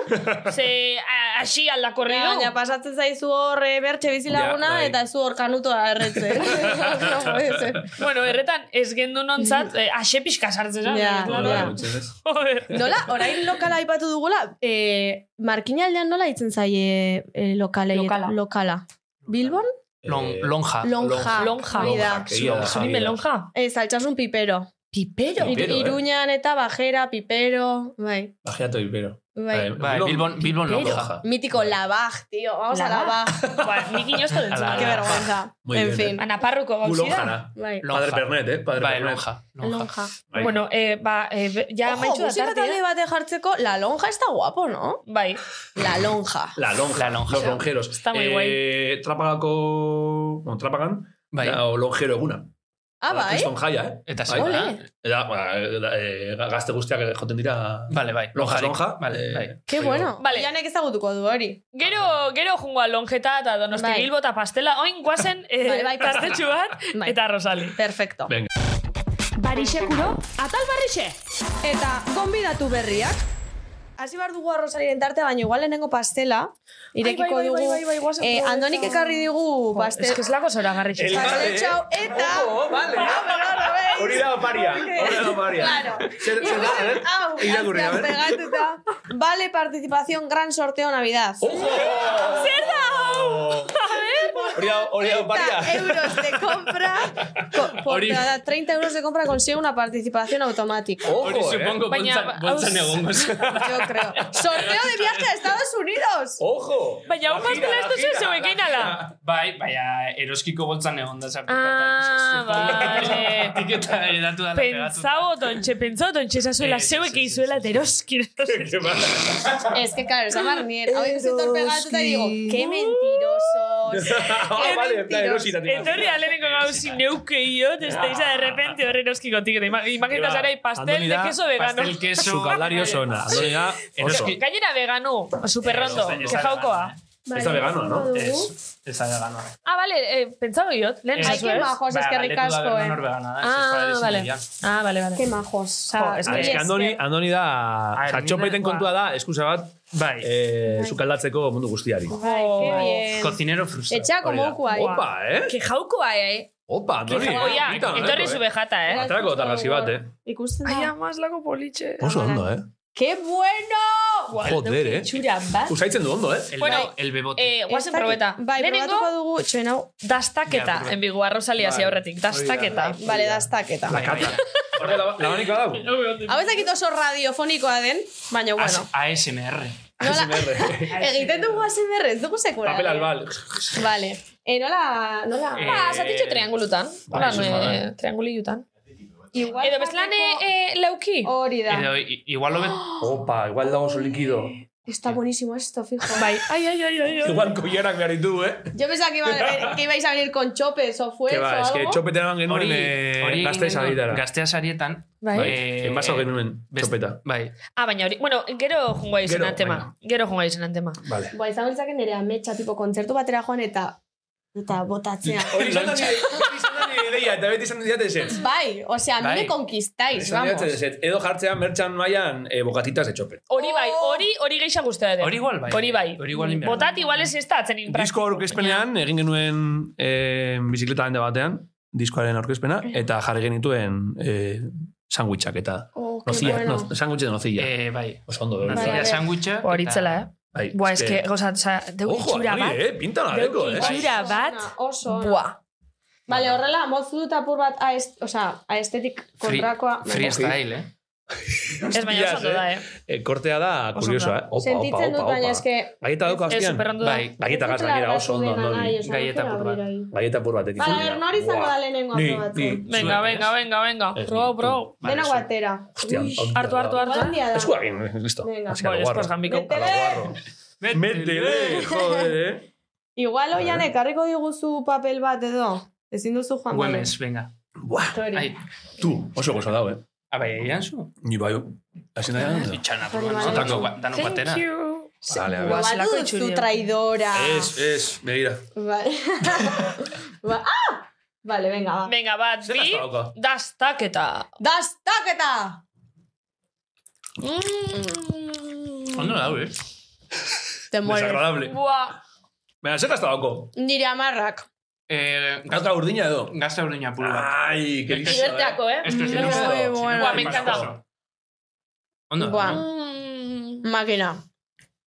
ze a- hasi aldakorrido.
Baina ba- pasatzen zaizu hor eh, bertxe bizilaguna
Ja, bai.
eta zu hor kanutoa erretzen. no puede ser.
Bueno, erretan, ez gendu nontzat, eh, ase pixka sartzen eh? zen.
Ja.
Claro.
Bai, gutxienez.
Joder.
Nola, orain lokala aipatu dugula, eh, markinaldean nola hitzen zaie eh, lokalei?
Lokala.
lokala. Bilbon?
Lon,
Eh,
Ah, lonja.
Lonja.
Lonja.
Hori da.
Lonjak, egia da.
Zuri melonja.
Ez, altsasun pipero.
Pipero.
Pipero, eh.
Iruñan eta bajera, pipero, bai,
Bajeatu Ibero.
bai.
Bai, Bilbon, Bilbon lo
Pero-
coja.
Mítico
Bai.
Labaj, tío, vamos a
Labaj.
Labaj.
ba, nik inozto
Ala.
dentzun.
Qué vergüenza.
Muy
en
bien,
fin.
eh. Anaparruko gauzia.
Bulonjara.
Bai.
Padre Pernet, eh? Padre
Bai,
Pernet.
lonja.
Lonja.
Bai.
Bueno, eh, ba, eh, be- ja
Ojo, ba-
amaitxu da
musika talde
tartea.
bate jartzeko, la lonja está guapo, ¿no?
Bai,
La lonja.
La lonja,
La lonja.
los lonjeros.
Está muy guay.
Trapagako... Bueno, trapagan,
Bai.
da, o lonjero eguna.
Ah,
Ba,
bai?
kriston jaia, eh?
Eta
Bai.
zegoela.
Eta, ba, e, gazte guztiak joten dira...
Vale, bai.
Lonja,
Lonjarik.
lonja.
Vale,
eh,
bai.
Qué
baina-
bueno.
Vale.
Janek ezagutuko du hori.
Gero, gero jungoa lonjeta eta donosti
Bai.
bilbo eta pastela. Oin guazen eh,
Bai, bai, pastela.
gaztetxu bat
Bai.
eta rosali.
Perfecto.
Venga.
Barixekuro, atal barrixe!
Eta, gonbidatu berriak. Hasi bar dugu arrozariren tartea, baina igual lehenengo pastela. Irekiko
Bai, bai, bai, bai,
dugu.
bai, guazen
Eh,
proba
Andonik
eta-
ekarri digu
Jo,
pastel.
Es que es lako zora garritxe.
El- ¿eh?
Pasteltxau eta...
Oh, vale. Hori da oparia. Hori da oparia.
Claro.
Zer, zer da, eh?
Au,
Irakurri, a
azkean
ver.
pegatuta. Vale, participación, gran sorteo Navidad.
Ojo! Zer da, Hori da, hori da oparia.
30 euros de compra. co- por
Hori-
cada 30 euros de compra consigue una participación automática.
Ojo,
Hori
eh?
supongo
Baina,
boltsan- boltsan
aus-
egongo zen.
Yo creo. Sorteo de viaje a Estados Unidos.
Ojo!
Baina, hau
La gira,
pastela ez
la
duzu
gira,
zeuek
la
einala.
gira.
Bai, baina eroskiko boltzan egon da sartuta.
Ah, vale.
Tiketa edatu dala
Pentsau otontxe, pentsau otontxe, zazuela
Eh, sí,
zeuek
sí, sí,
eizuela
sí, sí.
teroskir.
Qué mal.
Es que claro, esa marniera. Hoy estoy todo pegatuta y digo, qué mentirosos.
Ah, vale, en plan erosita, tío.
Etorri aleneko gauzi neukeio, testeiza de repente horre eroskikotik. Imagina zara pastel de
Andoni da,
queso vegano.
Pastel queso.
Sukaldari oso ona. Andoni da, oso.
Eroski-
Gainera vegano, superrondo,
Ez da
jaukoa.
eh.
Ez da veganoa, no?
Ez, ez da veganoa.
Ah, vale, eh, pentsau iot, lehen
Ez.
Ay,
esazu
qué
ez?
majos, es que ricasco, eh.
Ah, vale. Ah, vale, vale.
Qué majos.
Jo, es
Ah,
que-
es que Andoni, Andoni da,
Ah,
satxopeten
Ermina,
kontua da, eskusa bat,
Bai.
eh, sukaldatzeko mundu guztiari.
Ay, qué bien.
Cocinero frustrado.
Eh, Echa
Hori
como
da.
un cuay.
Opa, eh?
Que jaukoa, eh?
Opa,
Que
Andoni.
jaukoia,
Oita,
etorri
eh?
zu bejata, eh?
Aterako da targazi bat, eh?
Ikusten
Ai,
da.
amaz lako politxe.
Oso ondo, eh?
¡Qué bueno!
Joder, eh?
Txura bat.
Usaitzen du ondo, eh?
El,
Bueno,
el bebote.
Eh, guazen probeta.
Bai, probatuko dugu txuen hau.
Dastaketa,
Ja, proba.
enbigu, arrosalia
Bai.
zi aurretik. Dastaketa.
Hori da.
Vale, dastaketa.
Bai, bai, bai.
Horre labanik badau.
Hau ez dakit oso radiofonikoa den, baina bueno.
As- ASMR.
Nola, egiten dugu ASMR, ez dugu sekura.
Papel albal.
Vale. E, nola, nola.
Eh,
Ba, zatitxo triangulutan.
Bai,
Hola,
eso es
eh,
verdad.
triangulillutan.
Igual
Edo beslan
bateko-
eh, leuki.
Hori da.
Edo, i- igual lo
Opa, igual dago oso likido.
Está buenísimo esto, fijo.
Bai, ai, ai, ai, ai. ai.
Igual koierak behar ditu, eh?
Yo pensaba que, iba- que ibais a venir con chopes o fuerza
Que ba,
o
es que
algo.
txopeten eman genuen eh, gazte esalitara.
Gaztea sarietan.
Bai.
eh,
Enbaso genuen
best-
txopeta.
Bai.
Ah, baina hori, bueno, gero jungoa
Gero,
izan tema. Gero jungoa izan antema.
Vale.
Ba, izan beltzak nire ametsa, tipo, kontzertu batera joan eta eta botatzea.
Hori izan da nire hori izan da nire ideia, eta beti izan didate eset.
Bai, o sea, a mí
Bai.
me conquistáis,
Izan
vamos.
didate eset. Edo jartzea mertxan mailan eh, bokatitas de txope.
Hori bai, hori, hori geixa guztia dut.
Hori igual bai.
Hori bai.
Hori igual inberda.
Botat igual ez ez da atzen inpraktik.
Disko aurkezpenean egin genuen eh, bizikleta hande batean, diskoaren aurkezpena, eta jarri genituen eh, sandwichak eta
Oh, qué
nozilla,
bueno.
no, sandwich de nozilla.
Eh, bai.
Oso ondo,
Una
hori.
Vale.
tira sandwicha.
Horitzela, eh?
Bai,
Buah, ez que, oza, oza, deu
Ojo,
itxura bat.
hori, eh? Pinta la
Deu
Bai,
deko, eh?
itxura
Oso
bat.
ona, Oso ona.
Buah. Bai,
Vale, horrela, motzu dut apur bat ah, aest, o sea, aestetik
Free-
kontrakoa.
Freestyle, eh?
Ez baina oso ondo da, eh?
Eh, kortea da,
Oso
kurioso, eh? Opa, opa,
Sentitzen
opa,
dut, baina
opa.
eske...
Gaieta dauka
Ez
azpian.
superrondo da.
Bai.
Gaieta gas gainera oso ondo,
Ai, o
Andoni.
sea, no
Galleta
quiero
apur bat.
abrir ahí.
Gaieta pur batekin.
Vale, a ver, nori izango
Buah.
da lehenengo
Ni,
apur batzu.
ni.
Venga,
Zuen,
venga,
eh?
venga, venga.
Ez,
Pro,
ni,
pro.
Vale,
Dena
zuen.
guatera.
Hostia,
Ui,
ongi
Hartu,
da.
hartu, hartu.
Guardia da.
Esku egin, listo.
Venga.
Hacia
Bo,
lo
después
guarro.
gambiko.
A lo guarro. Métele, joder, eh.
Igual oian ekarriko diguzu papel bat edo. Ezin duzu joan. bai.
Güemes, venga.
Buah,
Hori.
Ai,
tu, oso gozo dau, eh.
abai, egin zu?
Ni bai, hasi nahi dut.
Itxana,
Hori bai.
Dano batera.
Thank you.
Vale, a ver.
Guau, zelako
Baduzu
itxuria.
traidora.
Es, es, begira.
Vale. Ba- ah! Vale, venga, va.
Venga, bat,
Zer
bi,
asko dauka?
dastaketa.
Dastaketa!
Ondo
Mm.
da, eh?
Te mueres.
Desagradable.
Buah.
Baina, zer hasta dauko?
Nire amarrak.
Eh,
Gauta urdina edo?
gazte urduña puru bat.
Ai, que listo, eh.
Liberteako, eh?
Esto es
Muy
inuso.
bueno.
Buah, Ah, me encanta.
Ondo
Buah.
da.
Mm.
Makina.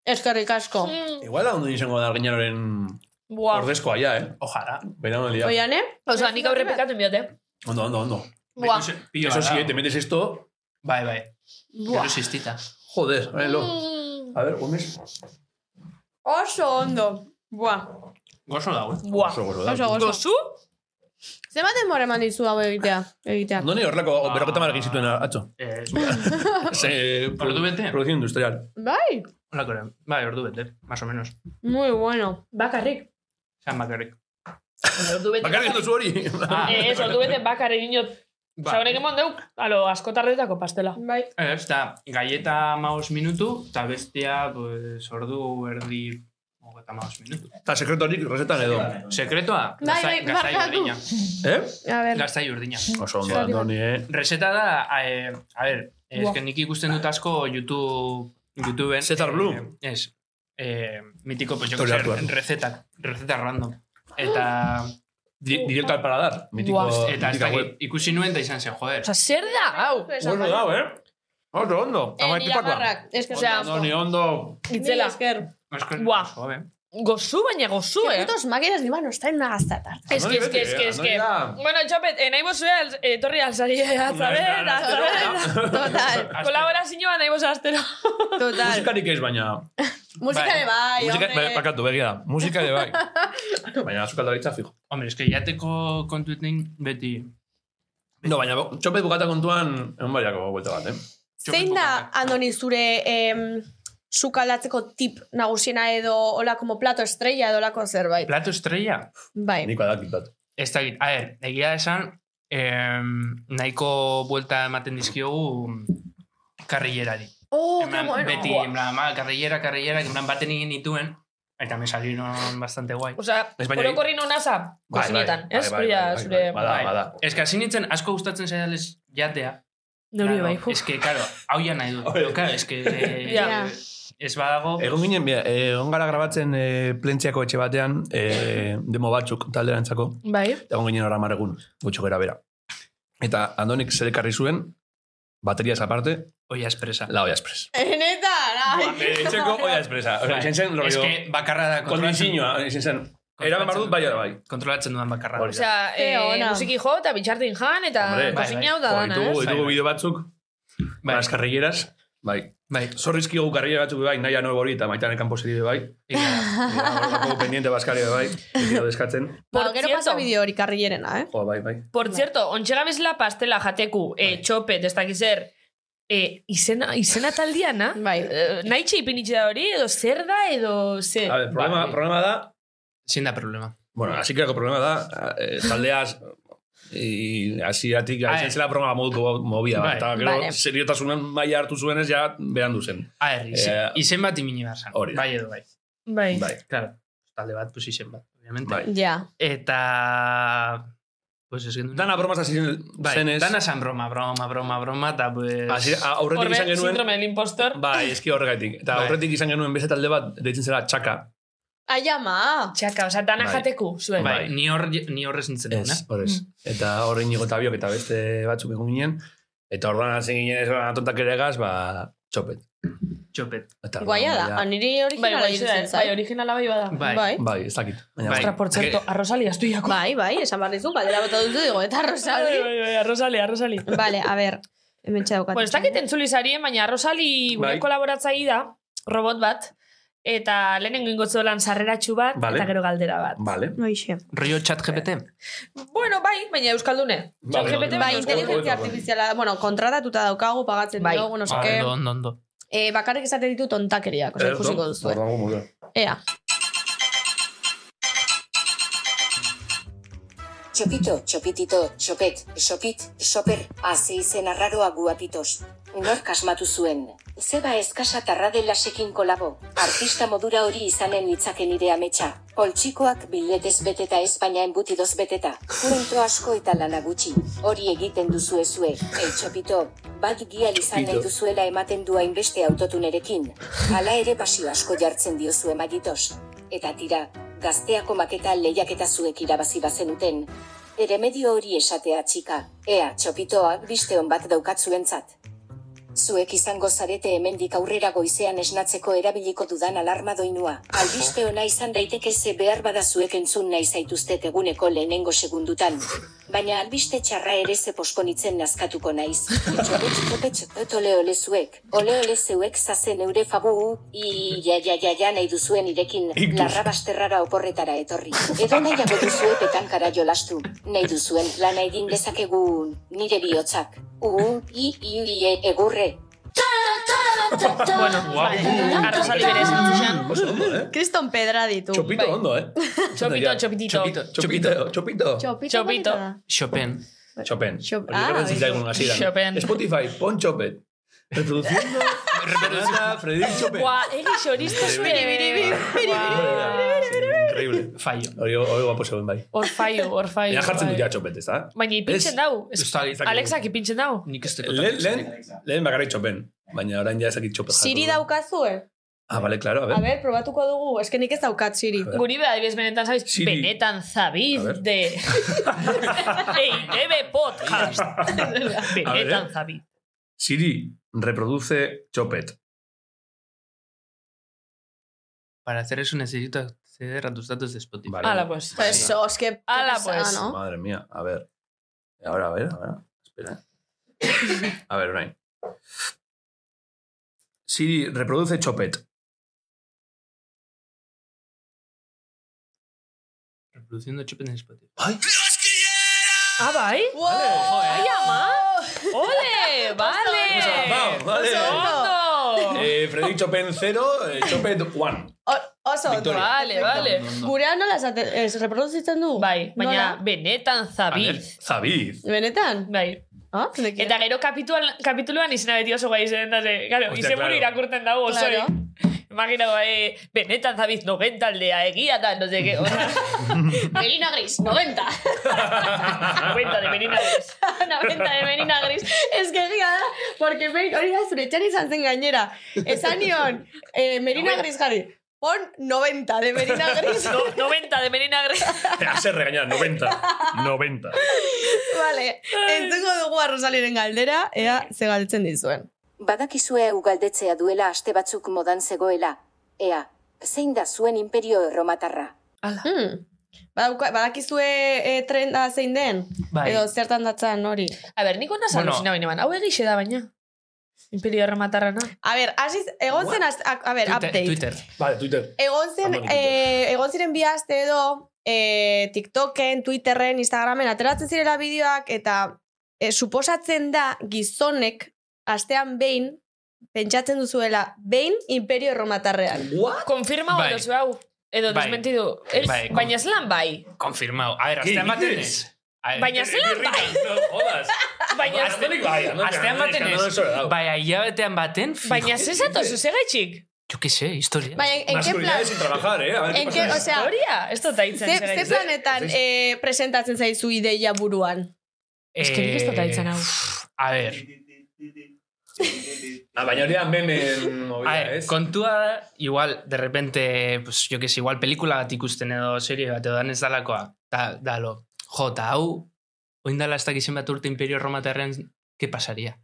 Eskerrik asko.
eh. Igual da ondo izango da arginaroren
Buah.
ordezkoa ja, eh?
Ojalá.
Baina, no lia.
Oiane?
Osa, nik aurre pikatu inbiot, eh?
Ondo, ondo, ondo.
Buah.
Ikusi- pilo
Eso
bat
sí,
dago.
eh, te metes esto.
Bai, bai.
Buah.
Gero sistita.
Joder, ábrelo.
Mm.
A ver, Gómez.
Oso ondo. Buah.
Gozo dago, eh?
Buah.
Oso gozo da.
Oso, oso.
Gozu?
Zenbat denbora eman dizu hau egitea? egitea.
No ni horrelako berroketa mal egin zituen atzo.
Eh,
Ze,
Ordu bete?
Producción industrial.
Bai,
Holako ere. Bai, ordu bete, más o menos.
muy bueno.
Bakarrik.
Zan bakarrik.
Ordu bete.
Bakarrik duzu hori.
Ah,
Eh, Ez, ordu bete bakarrik dinot.
ba. eh,
Zaurek emon deu, alo, asko tardetako pastela.
Bai.
Ez, da, galleta maus minutu, eta bestia, pues, ordu erdi hogeta maus minutu.
Eta sekretorik resetan edo.
Sekretoa,
Bai,
gaztai-
bai,
gaztai
barkatu.
urdina.
Eh?
A ver,
Gaztai urdina.
Oso ondo, Andoni, eh?
Reseta da, a, eh, a ver, es que nik ikusten dut asko YouTube, YouTubeen.
Cesar Blue.
Eh, ez. Eh, mitiko, pues, jo que
Hori hartu
sé,
hartu.
rezetak, rezetak random. Eta,
Di- Directo al paladar. Mítico,
eta ez
mítica
dakit,
Ah, web.
ikusi nuen eta izan zen, joder.
Osa, zer da, hau?
Oso
bai.
dau, eh? Oso ondo. Amai pipakoa.
es Eh, que
Osea,
Andoni, ondo.
Itzela.
esker.
Asko-
Buah.
Joder.
Gozu, baina gozu,
Qué
eh?
putos máquinas de manos traen una gastatar.
Es que,
Andoni
es que, es
beti,
que,
eh?
es que.
Andoni da-
Bueno, txapet, eh, nahi bozue, eh, torri alzari, azabet,
Na, na, na,
azabet.
Total,
Astero.
Kolabora zinua nahi bozue astero.
total.
Musikarik ez, baina...
Música
Bai.
de bai,
Musika,
hombre.
bai, bakatu, begia da. Musika ere bai. Baina sukaldaritza fijo.
Hombre, eske jateko kontuetin beti...
No, baina txopet bukata kontuan egon baiako buelta bat, eh?
Zein da,
bai.
Andoni, zure em, sukaldatzeko tip nagusiena edo hola como plato estrella edo holako zerbait?
Plato estrella?
Bai.
Niko adakit bat.
Ez da, a ver, egia esan, eh, nahiko buelta ematen dizkiogu karrillerari.
Oh,
En plan,
qué bueno.
Beti, en plan, ma, karrillera, karrillera, en plan, baten egin dituen, eta me salieron bastante guai.
Osa,
Espainiari-
orokorri non asa, kozinetan,
Bai, bai,
ez?
bai,
Hori da,
bai, bai,
zure...
bai, Bada,
Bai.
bada.
Ez que hasi nintzen, asko gustatzen zaidalez jatea.
Neuri bai,
Ez que, karo, hau ja nahi dut. Pero, Claro, ez que... eh,
Ja.
Ez badago...
Egon ginen, bia, eh, egon gara grabatzen e, plentziako etxe batean, e, demo batzuk talderantzako,
Bai.
eta egon ginen oramar egun, gutxo gara bera. Eta Andonik zerekarri zuen, baterias aparte,
Oia espresa.
la olla espres.
Eh,
Neta, nahi.
Bere etxeko olla espresa. Osa, izan zen,
Ez
lorrio,
que bakarra da
kondizioa, izan zen. Eraman behar dut, bai, ara bai.
Kontrolatzen dudan bakarra.
Hori da.
Osea,
Ze
eh,
ona.
musiki jo, eta bitxartin jan, eta
Hombre, bai,
kozinau
bai.
da
Jo,
dana,
Ditugu,
ez?
Bai,
ditugu
bai.
bideo batzuk,
Bai,
las carrilleras, bai.
bai.
Zorrizki gau karrillera batzuk be bai, naia no hori eta maitane kanposeri be bai.
Ega,
Eta horretako pendiente baskari be bai, bideo deskatzen.
Por
Ba, gero
cierto.
pasa bideo hori karrillerena, eh?
Jo, bai, bai.
Por cierto, ontxegabezla pastela jateku,
Bai.
eh, txope, destakizer, eh, izena, izena taldiana,
Bai.
eh, nahi txeipinitxe da hori, edo zer da, edo ze...
A ver, problema,
Bai.
problema da,
Zein da problema.
bueno, así que el problema da, eh, taldeaz, y asiatik,
Ah,
izan
eh.
zela programa moduko movida,
Bai.
bai. eta gero
Vale.
seriotasunen maila hartu zuenez ja berandu zen.
A ver, izen,
Eh,
izen bat imini behar zan.
hori da.
Bai edo bai.
Bai.
Bai,
Claro, talde bat, pues izen bat, obviamente.
bai.
Ja.
Eta... Pues ez genuen...
Dana bromaz hasi zen-
bai,
zenez,
dana san broma, broma, broma, broma, eta pues...
hasi- ah, a- aurretik
Horbe,
izan genuen,
síndrome del impostor.
Bai, eski horregaitik. Eta
Bai.
aurretik izan genuen beste talde bat, deitzen zela txaka.
Aiama.
Txaka, oza, dana
Bai.
jateku, zuen.
bai,
bai.
ni hor, ni horrez nintzen duen,
Ez,
eh?
hor ez. Mm. Eta hor inigo eta biok eta beste batzuk egun ginen. Eta orduan hasi ginen ez orduan tontak ere egaz, ba, txopet.
Txopet.
Eta orduan,
Guaia da,
ja.
aniri
Bai,
originala
bai,
iruditzen
bai,
zait.
originala bai bada.
Bai.
Bai.
Bai, ez dakit. Baina,
Bai.
Ostra, por cierto,
Ake-
a Rosali astuiako.
Bai, bai, esan behar dizu, galdera bota duzu digo, eta Rosali.
bai, a Rosali, a Rosali.
Vale, a ber, hemen txadaukat.
Bueno, ez dakit entzuli zarien, baina Rosali gure
Bai.
kolaboratzaile da, robot bat, eta lehenengo ingotzu lan sarreratxu bat,
Vale.
eta gero galdera bat.
Vale.
Noixe.
Rio chat GPT?
Bueno, bai, baina Euskaldune.
Vale,
ChatGPT
vale,
baina
Bai,
Bueno,
Euskaldune.
inteligentzia
bueno.
artifiziala, bueno, kontratatuta daukagu, pagatzen
Bai.
dugu, no
Ah,
seke.
Ondo, ondo, ondo.
Eh, bakarrik esate ditu tontakeriak, oso ikusiko duzu.
Orduan gumu da.
Ea.
Chopito, chopitito, chopet, chopit, choper, haze izen arraroa guapitos. Nork asmatu zuen. Zeba eskasa tarra lasekin kolabo. Artista modura hori izanen litzaken nire ametsa. Poltsikoak biletez beteta ez baina enbutidoz beteta. Kuento asko eta lana gutxi. Hori egiten duzu ezue. El txopito, bat gial izan nahi duzuela ematen du hainbeste autotunerekin. Hala ere pasio asko jartzen diozu emagitos. Eta tira, gazteako maketa lehiaketa zuek irabazi bazenuten. Ere medio hori esatea txika, ea txopitoak biste on bat daukatzuentzat. Zuek izango zarete hemendik aurrera goizean esnatzeko erabiliko dudan alarma doinua. Albiste ona izan daiteke ze behar bada zuek entzun nahi zaituztet eguneko lehenengo segundutan. Baina albiste txarra ere ze poskonitzen nazkatuko naiz. Txopetx, txopetx, et ole ole zuek. Ole ole zeuek zazen eure fabu, i, ja, ja, ja, ja nahi duzuen irekin, larra basterrara oporretara etorri. Edo nahiago duzue petankara jolastu. Nahi duzuen lana egin dezakegu nire bihotzak. U, i, i, i, e, egurre.
Bueno,
Guau.
arrozali bere esan zixan.
Oso ondo, eh?
Kriston pedra ditu.
Txopito
Bai.
ondo, eh?
Txopito, txopitito.
Txopito.
Txopito,
Txopito.
txopito.
Txopito.
polita da.
Chopin.
Chopin.
Chop-
Hori
Ah,
gertatzen zitzaigun hasieran.
Chopin.
Spotify, pon Chopin. Reproduciendo, Renata, Fredrik Chopin.
Gua, egi xoristu biri, biri, biri,
Increíble.
Fallo.
Hori hori guapo zegoen bai.
Orfaio, orfaio.
Ea jartzen dut
orfaio.
ja Chopin, ez da?
Baina
Ez,
ipintzen dau.
ez da, ez dakit.
Alexak ipintzen dau.
Nik ez dut.
Lehen, lehen, lehen bakarrik Chopin. Baina orain ja ezakit Chopin.
Siri daukazue?
Ah, vale, claro, a
A
ver.
ber, probatuko dugu. Ez que nik ez daukat Siri.
ver.
Guri bea, adibidez, benetan zabiz,
Siri.
benetan zabiz
A ver.
de... EITB podcast. benetan zabiz.
Siri, reproduce Chopin.
Para hacer eso necesito acceder a tus datos de Spotify.
Vale.
Ala, pues.
Pues, os que... que
Ala,
pesada,
pues.
¿no?
Madre mía, a ver. Ahora, a ver, a ver. Espera. A ver, orain. Siri, reproduce Chopet.
Reproduciendo Chopin en Spotify.
Ah, bai?
eh.
Ai, ama! Ole, Eh,
Vamos,
vale!
Ah, vale.
Ondo!
Eh, Fredrik Chopin 0, eh, Chopet 1.
O- Oso, ondo.
Victoria.
Vale, vale.
Gurea nola esaten- ez, reproduzitzen du?
Bai, baina
Nola?
benetan zabiz.
Zabiz.
Benetan?
Bai.
Ah, nekien.
Eta gero kapitual, kapituluan izena beti oso gai zen, da, ze, claro,
Hostia,
izenburu
claro.
irakurten dago oso.
Claro.
Imagina, eh, benetan zabiz, nogen taldea, egia da, no sé qué.
Melina Gris, 90.
Cuenta de Benina Gris.
Ana benta de Benina Gris. Ez que egia da, porque behin hori da zure etxan izan zen gainera. Esan nion, eh, Merina Gris jarri. Pon 90 de Merina Gris.
No, 90 de Benina Gris.
Te has regañado, 90. 90.
vale, entzuko dugu arrozaliren galdera, ea ze galtzen dizuen.
Badakizue ugaldetzea duela aste batzuk modan zegoela. Ea, zein da zuen imperio erromatarra?
Hmm. Badauka, badakizue eh, trenda zein den?
Bai.
Edo zertan datzan hori.
A ber, niko nasa
Bueno.
bueno. alusina baina, hau egixe da baina. Imperio errematarrana.
A ber, hasiz, egon zen, az- a, a ber,
Twitter.
update.
Twitter.
Vale, Twitter.
Egon zen,
Amorikito.
eh, egon ziren bi aste edo, eh, TikToken, Twitterren, Instagramen ateratzen zirela bideoak eta eh, suposatzen da gizonek astean behin pentsatzen duzuela behin imperio erromatarrean.
What?
Konfirma
Bai.
bai. duzu hau. Edo
Bai.
desmentidu. Ez,
Bai, kon-
baina zelan bai.
Confirmado. A ver,
¿Qué
astean baten
dices?
ez. A ver,
Baina zelan bai.
No jodas.
Baina,
Asterik bai.
Astean baten ez.
Oh.
Baina Bai, hilabetean baten, fijo.
baina Bai, zezatu zuzegaitxik.
Yo qué sé, historia.
Baina, en qué plan,
Masculinidades sin trabajar, eh. A ver,
en
¿qué
qué, o
pasa?
sea,
Horia, ez dut aitzen
ze, ze
zegaitxik.
planetan eh, presentatzen zaizu ideia buruan?
Eh,
Es que nik ez dut aitzen hau.
A ver,
Ah, baina hori da memen
a
movida, ¿eh?
ver,
ez?
kontua da, igual, de repente, pues, jo que sé, igual pelikula bat ikusten edo serie bat edo danez dalakoa. Da, dalo, jo, ta hau, oindala ez dakizen bat urte imperio romatarren, ¿qué pasaría?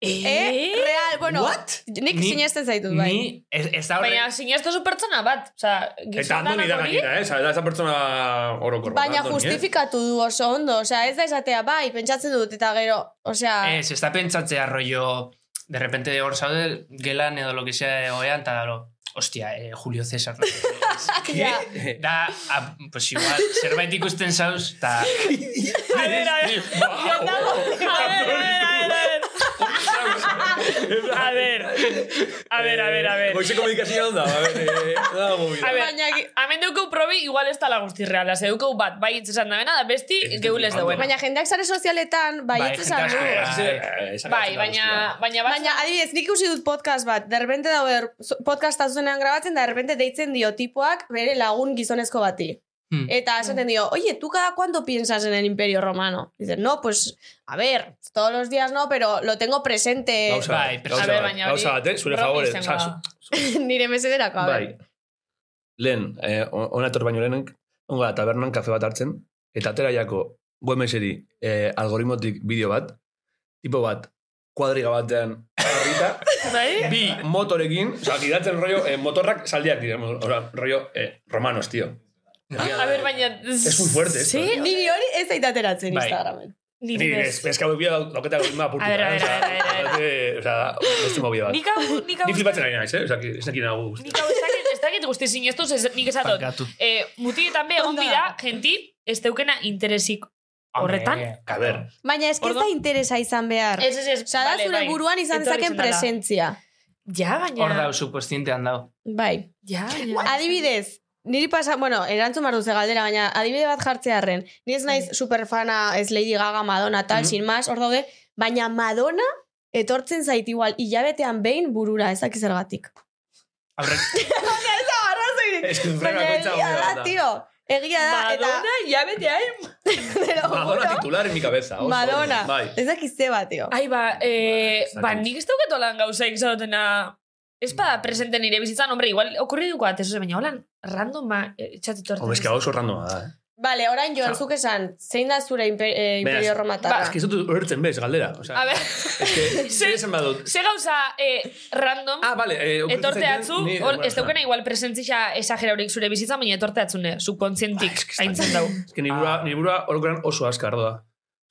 Eh, real, bueno,
What?
nik
Ni-
sinesten zaitut bai.
Ni, ez, ez da horre,
Baina sinestu zu pertsona bat. Osa,
Eta
gizon
handu nida
danak hori.
gainera, eh? Eta esa pertsona orokorra.
Baina
Andoni, eh?
justifikatu du oso ondo, osea, ez da esatea bai, pentsatzen dut eta gero, osea...
ez, ez da pentsatzea rollo, de repente hor zaude, gelan edo lo que sea oean, eta dalo, hostia, eh, Julio César. no sé qué es.
Ja.
da, a, pues igual, zerbait ikusten zauz, eta...
A ver, a ver. A ver, a ver, a ver. A ver, a ver, a ver, a ver.
Goizeko medikazioa onda, a ver, eh, da movida.
A ver,
Baina,
Hemen dukeu probi, igual ez tala guzti reala. Ze dukeu bat, bai itzesan da bena, da besti,
Ez, ez,
geulez
ondo.
dauen.
baina jendeak sare sozialetan, bai,
Bai,
ez esan
jende
du.
asko,
Hasi zen, eh, esan
Bai,
gauzak
baina,
guztia.
baina, bat-
Baina, adibidez, nik usi dut podcast bat, derbente daude zo- podcasta zuzenean grabatzen, da derbente deitzen dio tipoak bere lagun gizonezko bati.
Hmm.
Mm.
Eta esaten dio, oye, ¿tú cada cuánto piensas en el Imperio Romano? Dice, no, pues, a ver, todos los días no, pero lo tengo presente
Gauza bat,
Bai, pero-
gauza
A ber,
bat,
baina hori
gauza bat, eh, zure
bromi
favore.
izango
Osa,
da.
zu-
nire mesederako, a ver.
Bai. Lehen, eh, ona etor baino lehenek, ongo da tabernan kafe bat hartzen, eta atera jako webmeseri eh, algoritmotik bideo bat, tipo bat, kuadriga batean horrita.
Bai?
Bi motorekin, oza, gidatzen rollo, eh, motorrak saldiak dira, oza, rollo eh, romanos, tío.
A ber, baina...
Es muy fuerte esto,
Sí?
tío.
Niri hori ez daiteatzen
Bai.
Instagramen.
Ni,
Ni, es, es que hau bia dauketa goi ma
A
purtuta.
ver, a ver,
eh,
a ver, a ver, a
eh, Oza, beste movida bat.
Nik hau, nik hau,
Ni flipatzen ari naiz, eh? Oza, ez nekin hau guzti.
nik hau ez dakit, ez dakit guzti zinestuz, ez- nik esatot.
Barkatu.
Eh, mutietan be, egon
Onda.
bida, genti, ez teukena interesik. Horretan?
A ver,
Baina ez que ez da
Orduan-
interesa izan behar.
Ez, ez, ez.
Sada
vale,
zure
bai.
buruan izan
Etorri
dezaken
izan dela.
presentzia.
Ja,
Hor
baina...
dau, subkostientean dau.
Bai.
Ja, ja.
Adibidez, niri pasa, bueno, erantzun behar duze galdera, baina adibide bat jartzearren. Ni ez
Bai.
naiz superfana, ez Lady Gaga, Madonna, tal,
Mhm.
sin más, hor daude, baina Madonna etortzen zait igual, hilabetean behin burura, ezak izergatik.
Aurrek,
Eta arrazoirik,
es que frena
baina
koitza
egia da, tio. Egia da,
Madonna, ya bete hain.
eta... te lo
Madonna
juro.
titular en mi cabeza. oso,
Madonna.
Bai.
Ez dakizte bat, tio.
Ai, ba, eh,
Ba, ez dakit.
ba, nik ez dauket holan gauzaik zaudena... Ez
Mm.
bada presente nire bizitzan, hombre, igual okurri duko atez, baina holan randoma eh, txatu
Hombre, es
tortzen.
que hau oso randoma da, eh?
Vale, orain joan,
Sa-
zuk esan, zein da zure impe- eh,
Beraz, ba,
imperio romatarra?
Es que ez dut horretzen bez, galdera. O sea,
A ber,
es que, zer esan badut.
ze gauza eh, random...
Ah, vale. Eh, okurritzen
Etorte
zaiten,
atzu,
ni-
hor,
bueno,
ez daukena igual presentzia esagera horiek zure bizitza, baina etorte atzune,
Ba,
subkontzientik haintzen dau.
Es que ni burua, ni burua orokoran oso azkar doa.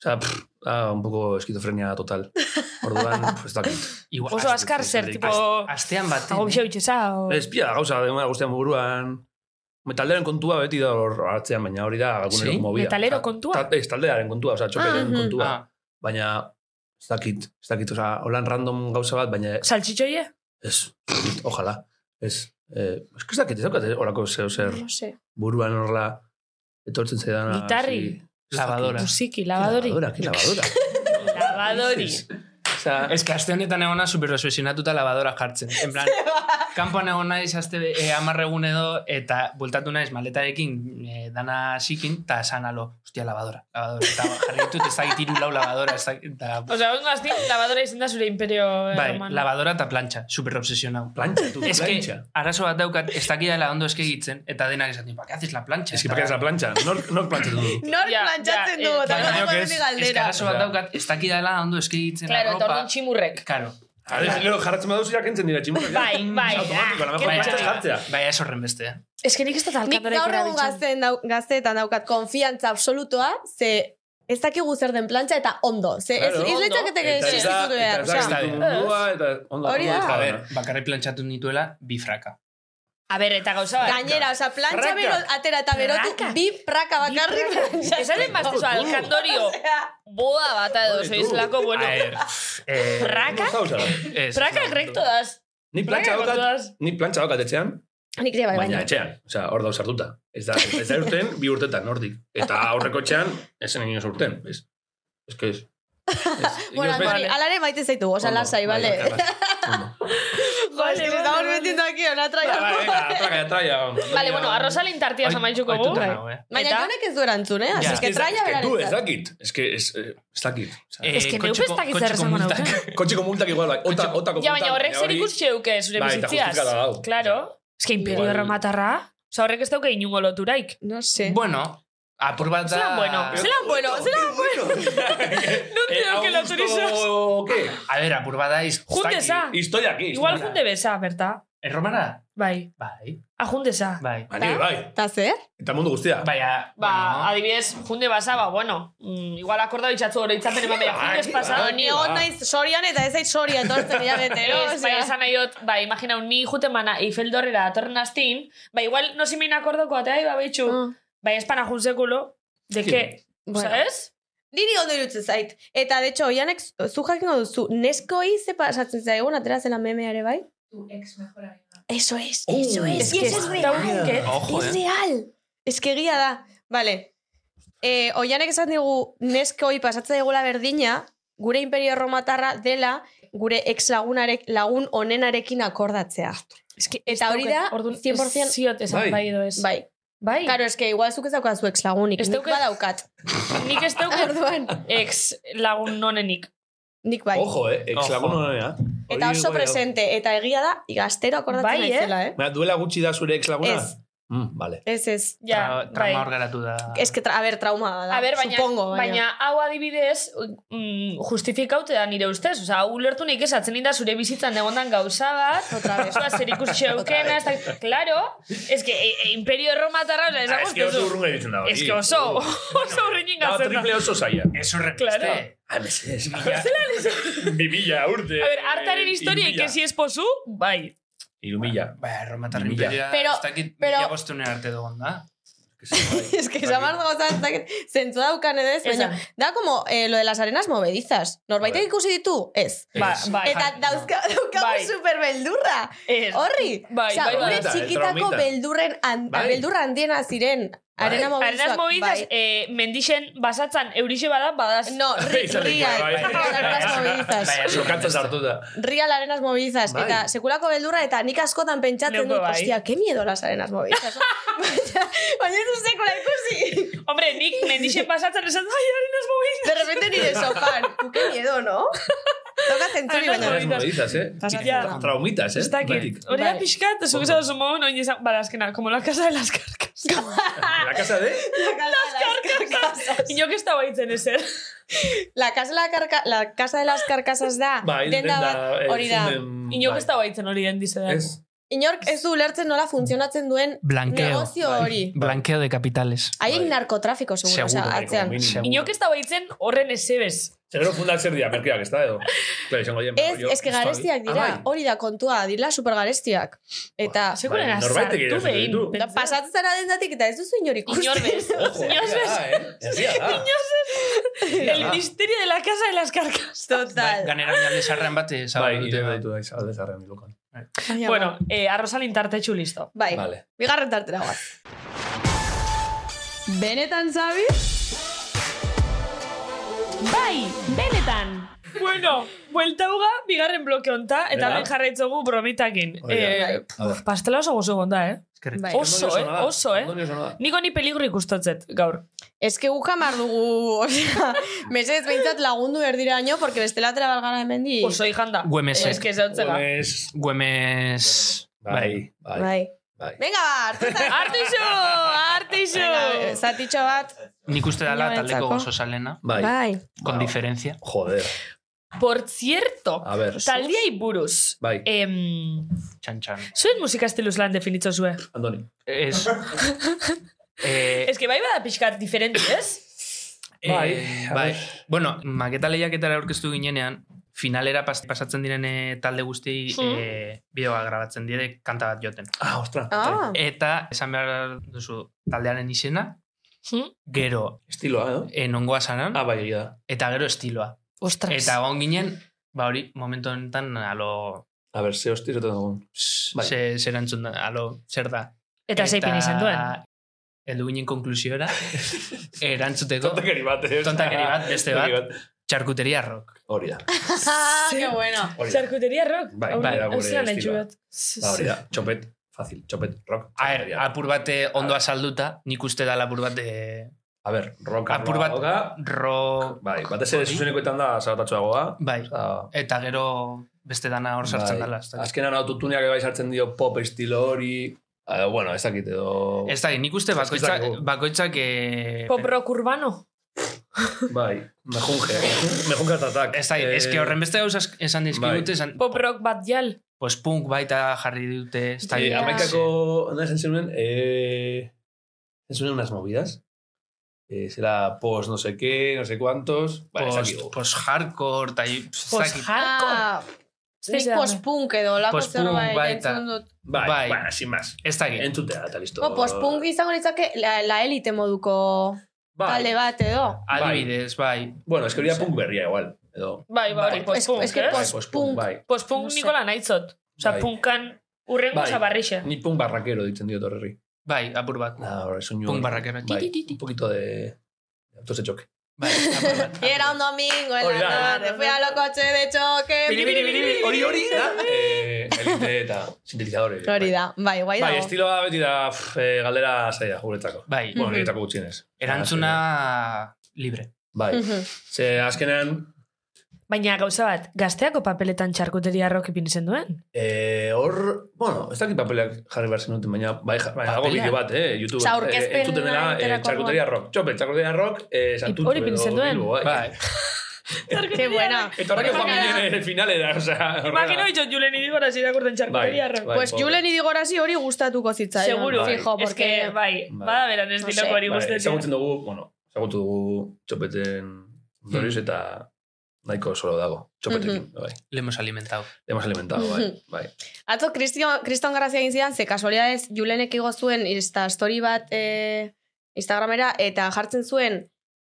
O sea, pff, ah, un poco esquizofrenia total. Orduan, pues ez dakit.
igual,
Oso azkar zer, tipo,
Astean bat.
agobixo bitxesa, o...
Ez pia da gauza, demora guztian buruan. Metalderen kontua beti da hor hartzean, baina hori da algunero
Sí?
movida.
Metalero kontua?
Ta, ez, taldearen kontua, oza, txoperen
mhm.
kontua.
Ah,
Baina, ez dakit, ez dakit, oza, holan random gauza bat, baina
Saltxitxoie?
ez, ojalá, ez. Eh, ez que ez dakit, ez dakit, horako zeu zer
No sé.
buruan horla etortzen zaidana.
Gitarri.
así. Ez dakit.
lavadora.
Musiki,
Ke
lavadori.
Lavadora, ke lavadora.
Lavadori.
Osa,
Ez que aste honetan egona superosuesionatuta lavadora jartzen. En plan, kanpoan egon naiz aste e, amarregun edo, eta bueltatu naiz maletarekin e, dana sikin, eta esan alo, hostia, lavadora, lavadora. Eta jarri ditut ez dakit hiru lau lavadora, ez dakit, eta...
Osa, hongo azti, lavadora izan da zure imperio eh,
Bai,
romano.
lavadora eta plantxa, superobsesionau.
plancha, tu,
Es que,
plancha.
arazo bat daukat, ez dakidala ondo eskigitzen, eta denak esaten, "Ba, pa, que haces la plancha?
Es que
Eta-
para que es la plancha, nork nork plantxatu du.
Nor
Ja,
plantxatzen
ja,
du,
eh,
eta
Bai, baina
gauza
que es-
hori
Es que
galdera.
arazo bat daukat, ez dakidala ondo eskigitzen
Claro,
la
eta
ropa.
orduan tximurrek.
Claro.
A ver, leo, jarratzen baduz ja kentzen dira tximurrak. ja.
Bai, bai.
Automatiko, a lo
ah,
mejor
qué
plancha
txarra.
jartzea.
Bai, ez horren beste, eh?
Ez que nik ez dut
Nik
alkandorek
gaur egun
erabiltzen.
gazteen dau, gazteetan daukat konfiantza absolutoa, ze ez dakigu zer den plantxa eta ondo. Ze ez,
Claro.
ez
Ondo.
litzakete
Eta ez da,
existitu behar.
eta ez
osea.
da,
osea.
mundua, eta ondo,
Hori
ondo
da.
ez
A
da.
ver, bakarrik plantxatu nituela, bifraka.
A ber, eta gauza bat.
Gainera, oza, plantxa
Prakak.
bero, atera eta berotu,
Prakak.
bi praka bakarrik plantxa.
Esaren baztezu alkandorio boda bata edo,
Joder,
soiz
tú.
lako, bueno,
A ver, eh,
prakak,
Ondo gauza da.
ez,
prakak rekto daz.
Ni plantxa
Prakak
daukat,
daz.
ni plantxa daukat etxean,
Nik ere bai,
baina
baina.
etxean. Osea, hor da sartuta. Ez da, ez da urten, bi urtetan, nordik. Eta aurreko etxean, esen egin urten. Ez, ez que ez. ez.
Bueno,
Inoiz
Antoni,
bera-
alare maite zaitu, oza,
Ondo,
lasai,
bai,
bale.
bai, bai, ondo.
Jo, es que estamos metiendo aquí, ona
Ba, ba,
traia.
venga, traia, traia.
Vale, bueno, arrozalin tartia zamaitxuko gu.
Oituta nago, eh?
Baina
Eta-
jonek ez du erantzun, eh?
Ja.
Así que traia
Ez que du, ez
berarentzat.
dakit. Ez que, ez, eh, ez dakit. Osea,
Ez
Eh,
que neu
kotxeko-
pestak izan
kotxeko
esan
multak.
Kotxeko multak igual, bai. Ota, otako
Ja, baina horrek zer
hori-
ikus xeuke zure
Bai, eta
bizitziaz.
justifikada dau.
Claro. Ez que imperio
Igual-
erromatarra. Osa horrek ez dauke inungo loturaik.
No sé.
Bueno, apur bat da... Eh,
Zelan bueno, zelan bueno, zelan...
bueno. No
creo que lo autorizas.
¿O qué?
A ver, apur bat da... iz-
Juntesa.
Historia aquí.
Igual junte besa, berta.
Erromara?
Bai.
Bai,
Ajuntesa.
bai.
Bani, bai.
Eta zer?
Eta mundu guztia.
Baina,
Ba,
bueno,
adibidez, junde basa, ba, bueno, mm, igual akorda bitxatzu hori itzapen eman behar,
Bai,
jundes pasa.
bai.
Ni hon
Ah.
naiz sorian eta ez zait soria etortzen dira betero.
Ez, bai, esan nahi dut, ba, imaginau, ni juten bana Eiffel dorrera datorren astin, ba, igual, no simen akordoko, eta bai, ba, bitxu,
Ah,
bai, espana junsekulo, de
Sí.
que,
Bueno.
¿sabes?
Niri ondo irutzen zait. Eta, de hecho, oianek, zu jakingo duzu, neskoi ze pasatzen zaigun, atera zela memea ere bai? Tu ex mejor amiga. Eso es, eso es. Y
que
eso es
está un
real.
buque.
ojo,
Es
eh?
real. Es que egia da. Vale. Eh, oianek esan digu, neskoi pasatzen zaigula berdina, gure imperio romatarra dela, gure ex lagunarek, lagun onenarekin akordatzea.
Es que
Eta hori da,
orduan,
100%
ez ziot esan
Bai.
bai edo ez.
Bai.
Bai.
Karo, es que igual zuk ez daukazu ex lagunik,
Ez
nik
daukat-
badaukat.
Nik ez daukat
Orduan,
ex lagun nonenik.
nik bai.
Ojo, eh? Ex
Ojo.
lagun honena.
Eta oso presente, eta egia da, gaztero akordatzen
Bai,
naizela, eh?
Baina, duela gutxi da zure ex laguna?
Ez,
Mm, vale.
Ez ez.
Ja,
Tra-
bai.
Trauma hor geratu da.
Ez que, tra- a ber, trauma da.
A ber, baina,
Supongo,
baina. hau adibidez, mm, justifikaute da nire ustez. Osa, hau lertu nik esatzen inda zure bizitzan egondan gauza bat, otra vez, oa, zer ikusi xeukena, ez da, claro, ez que e, e, imperio erromatarra, osa,
Ah, eske
esagustu
oso
zu.
urrun gelditzen da hori.
Ez que oso, oso urriñin
Da,
gatzen da.
triple oso zaila.
Ez horre
Claro.
Ah, mesedez. Bi mila urte.
A ber, hartaren historia ikesi esposu, bai.
Iru mila.
Ba, erromatar
Mila.
imperioa...
Pero-
ez dakit
pero-
mila bostunen arte dugun da.
Es que esa mardo gozat, zentzu daukan edo ez, baina
Esan.
da como eh, lo de las arenas movedizas.
A
Norbaitek
ver.
ikusi ditu? Ez.
Ba,
Ez.
bai.
Eta dauzka, daukagu
Bai.
super beldurra.
Ez.
Horri.
Bai,
Osea,
bai, bai.
gure
Traumita,
txikitako
traumita.
beldurren han-
eh, Bai.
beldurra handiena ziren. Arena moviduak.
Arenaz movidas,
bai.
eh, mendixen basatzan eurixe bada, badaz.
No, ri-
Izan dira,
real.
bai, bai.
Arenas movidizas.
Bai,
Oso katzaz hartuta.
Real arenas movidizas.
Bai.
Eta sekulako beldurra, eta nik askotan pentsatzen
Neuko
dut,
bai.
hostia, que miedo las arenas movidizas. baina, baina ez dut sekula ikusi.
Hombre, nik mendixen basatzan esan, ai, arenaz movidas.
De repente nire sofan. "Ku, que miedo, no? Toka zentzuri,
Arenas
baina...
Eres modizas, eh?
Ja.
Traumitas, eh?
Ez dakit,
Baitik.
hori da
Bai.
pixka, eta zuk esan zumon, oin esan, bara, azkena, como la casa de las carcas. Ah.
La casa de...
Las carcasas.
Inok ez da baitzen ezer.
La casa, de la, carca, la casa de las carcasas da.
Bai,
denda bat,
eh,
hori da.
zumen-
Inok ez
bai.
da baitzen hori den dizedan.
Ez.
Inork ez du ulertzen nola funtzionatzen duen
Blanqueo.
negozio
Bai.
hori.
Blanqueo de capitales.
Haien
Bai.
narkotrafiko, seguro,
Seguro,
osea,
Bai,
atzean.
como mínimo.
Seguro.
Inok ez da baitzen horren ezebez.
Seguro fundak zer dira, merkeak, ez da, edo? ¿eh? Claro, izango dien,
Ez,
rollo,
ez que
esto-
garestiak
Ah,
dira,
bai.
hori da kontua, dira supergarestiak. Eta
Sekuren
Bai, norbaitek ere
azartu
esaten
behin.
ditu.
pentsa.
pasatzen zara dendatik eta ez duzu inor
Inor
ikusten.
bez. Inor bez.
Ah, eh? Egia da.
El misterio de la casa de las carcas.
Bai,
Total.
ganera oinalde sarren bat
Bai,
ezagutu
ire
dute. bai.
dut, bai, alde zarrean bilukan.
Baina,
Bueno, eh, arrosalin tartetxu listo.
Bai,
Vale.
bigarren tartera guaz. Benetan zabi?
Bai, benetan! Bueno, buelta huga, bigarren bloke honta, eta
Venga.
ben jarraitzogu bromitakin.
Hori da.
Eh,
A ver.
pastela oso gozo gonda, eh?
Eskerrik
Bai.
asko.
Oso, eh? Oso, eh? Niko ni peligro ikustotzet, gaur.
Ez que guk jamar dugu, osea, mesedez behintzat lagundu berdiraino, porque bestela atera balgara hemendik.
Oso ikanda.
Guemesek.
Ez que ez dautzega.
Pues...
Güemes...
Bai, bai,
Bai.
bai.
Venga, ba, hartu
Artizu! Artizu!
Bai, Zatitxo bat.
Nik uste dela
Inoentzako.
taldeko gozo salena,
Bai.
Bai.
con
Wow.
diferencia.
Joder.
Por cierto,
A ver.
taldiai buruz.
Bai.
Em,
Txan, txan.
zuen musika estiluz lan definitzo zue.
Andoni.
Ez... eh,
Ez que bai bada pixkat diferente, ez?
eh,
Bai, a
bai.
ver.
Bueno, maketa lehiaketara aurkeztu ginenean, finalera pas- pasatzen diren eh, talde guzti eh, bideoa grabatzen dire kanta bat joten.
Ah, ostra.
Ah,
Eta esan behar duzu taldearen izena,
Hmm?
Hm?
gero
Estiloa, edo?
eh, nongoa zanan,
Ah, bai, egia da.
eta gero estiloa.
Ostras.
Eta egon ginen, ba hori, momentu honetan, alo,
A ber, ze hostirotan dagoen. Bai.
ze, zer entzun da, alo, zer da.
Eta zeipin izan duen.
Eldu ginen konklusiora, erantzuteko,
Tontakeri bat, eh?
Tontakeri bat, beste bat. txarkuteria rock.
Hori da.
Ah,
qué bueno.
Hori da.
Charcutería rock.
Bai,
Hau-
bai, da
hau
gure
zelan haitxu
estiloa.
bat. Z-
Ba, Hori da. Txopet, fácil. Txopet, rock.
A ver,
txopetaria.
apur bate ondo azalduta, nik uste dala apur bate
A ber, rock.
apur
arloa
bat
dauka.
rock,
Bai, batez ere
Hori.
zuzenekoetan da zaratatxoagoa.
bai,
Ah,
eta gero beste dana hor sartzen
bai.
dala. ez dakit.
Azkenan autotuneak bai sartzen dio pop estilo hori. Ah, bueno, ez dakit edo...
Ez da, nik uste
Ez
bakoitzak,
dakigu.
bakoitzak eh,
Pop rock urbano.
Bai, mejunge. mejunge atatak. Eh,
Ez da, ez que horren beste gauza esan
Bai.
dizkigute, esan,
Pop rock bat jal.
pues punk baita jarri dute, ez da,
Eh,
Ya.
Ah,
Amaikako, nahi esan zenuen, eh, esan zenuen unas movidas. Eh, será post no sé qué, no sé cuántos. Vale, ez
post,
dakigu.
post hardcore, eta hi- pff, ez
Pues
dakit.
hardcore.
ah,
Ez
nik
da,
post-punk edo, lako
Post-punk
zerbait
baita.
entzun dut.
Bai,
bai.
bueno, sin más.
Ez dakit.
Entzutea, eta listo.
Bo, post-punk izango litzake la, la elite moduko talde
Bai.
bat edo.
Adibidez, bai.
Bueno, es que hori da punk berria igual. Edo,
Bai, bai, hori,
Bai,
post-punk,
es- es que
eh?
bai,
Post-punk.
post-punk, bai.
Post-punk
No sé.
Nikola naitzot. Osa,
Bai.
punkan urrengo
Bai.
zabarrixe.
Ni punk barraquero ditzen diot horri.
Bai, apur bat.
Ah, hori, soinu
Punk
hori.
barraquero. Ti,
Bai,
ti, ti, ti.
un poquito de... de Autos de choque.
Bai, apur bat.
Y era un domingo en
Hori
la
da.
tarde, fui a los coches de choque.
Hori hori da. Eh, elite eta sintetizadores.
Hori da, bai, guai
Bai,
dago.
estiloa beti da pff, eh, galdera zaila, guretzako.
Bai,
Bueno, niretako gutxienez.
erantzuna libre.
Bai,
Mhm.
ze azkenean,
Baina gauza bat, gazteako papeletan txarkuteria rock ipin izen duen.
Eh, hor, bueno, ez dakit papeleak jarri behar zenuten, baina bai, ja- baina dago
Papelea?
bideo bat, eh, YouTube.
Osea, aurkezpena
eh, entzuten dela, eh,
egiterako
txarkuteria rock. Txope, txarkuteria rock, eh, santutu.
hori ipini zen duen.
Bai.
Qué buena.
Eta horrek joan
Horrela.
ginen eh, finalera, o sea, horrela.
Imagino ditxot Julen idigora zirakurten txarkuteria rock.
Bai,
Pues
pobre.
Julen idigorazi hori gustatuko zitzaion.
Seguro.
Bai.
Fijo,
Es que,
porque...
bai,
Bai.
bada beran ez
No
dilako
sé.
hori
Bai,
guztetia.
ezagutzen dugu, bueno, ezagutu dugu txopeten
Hm.
ondorioz eta nahiko solo dago, txopetekin, bai.
Le hemos alimentado.
Le hemos alimentado, bai, bai.
Atzo, Kristio- kriston grazia egin zidan, ze kasualidadez Julenek igo zuen insta story bat eh, Instagramera, eta jartzen zuen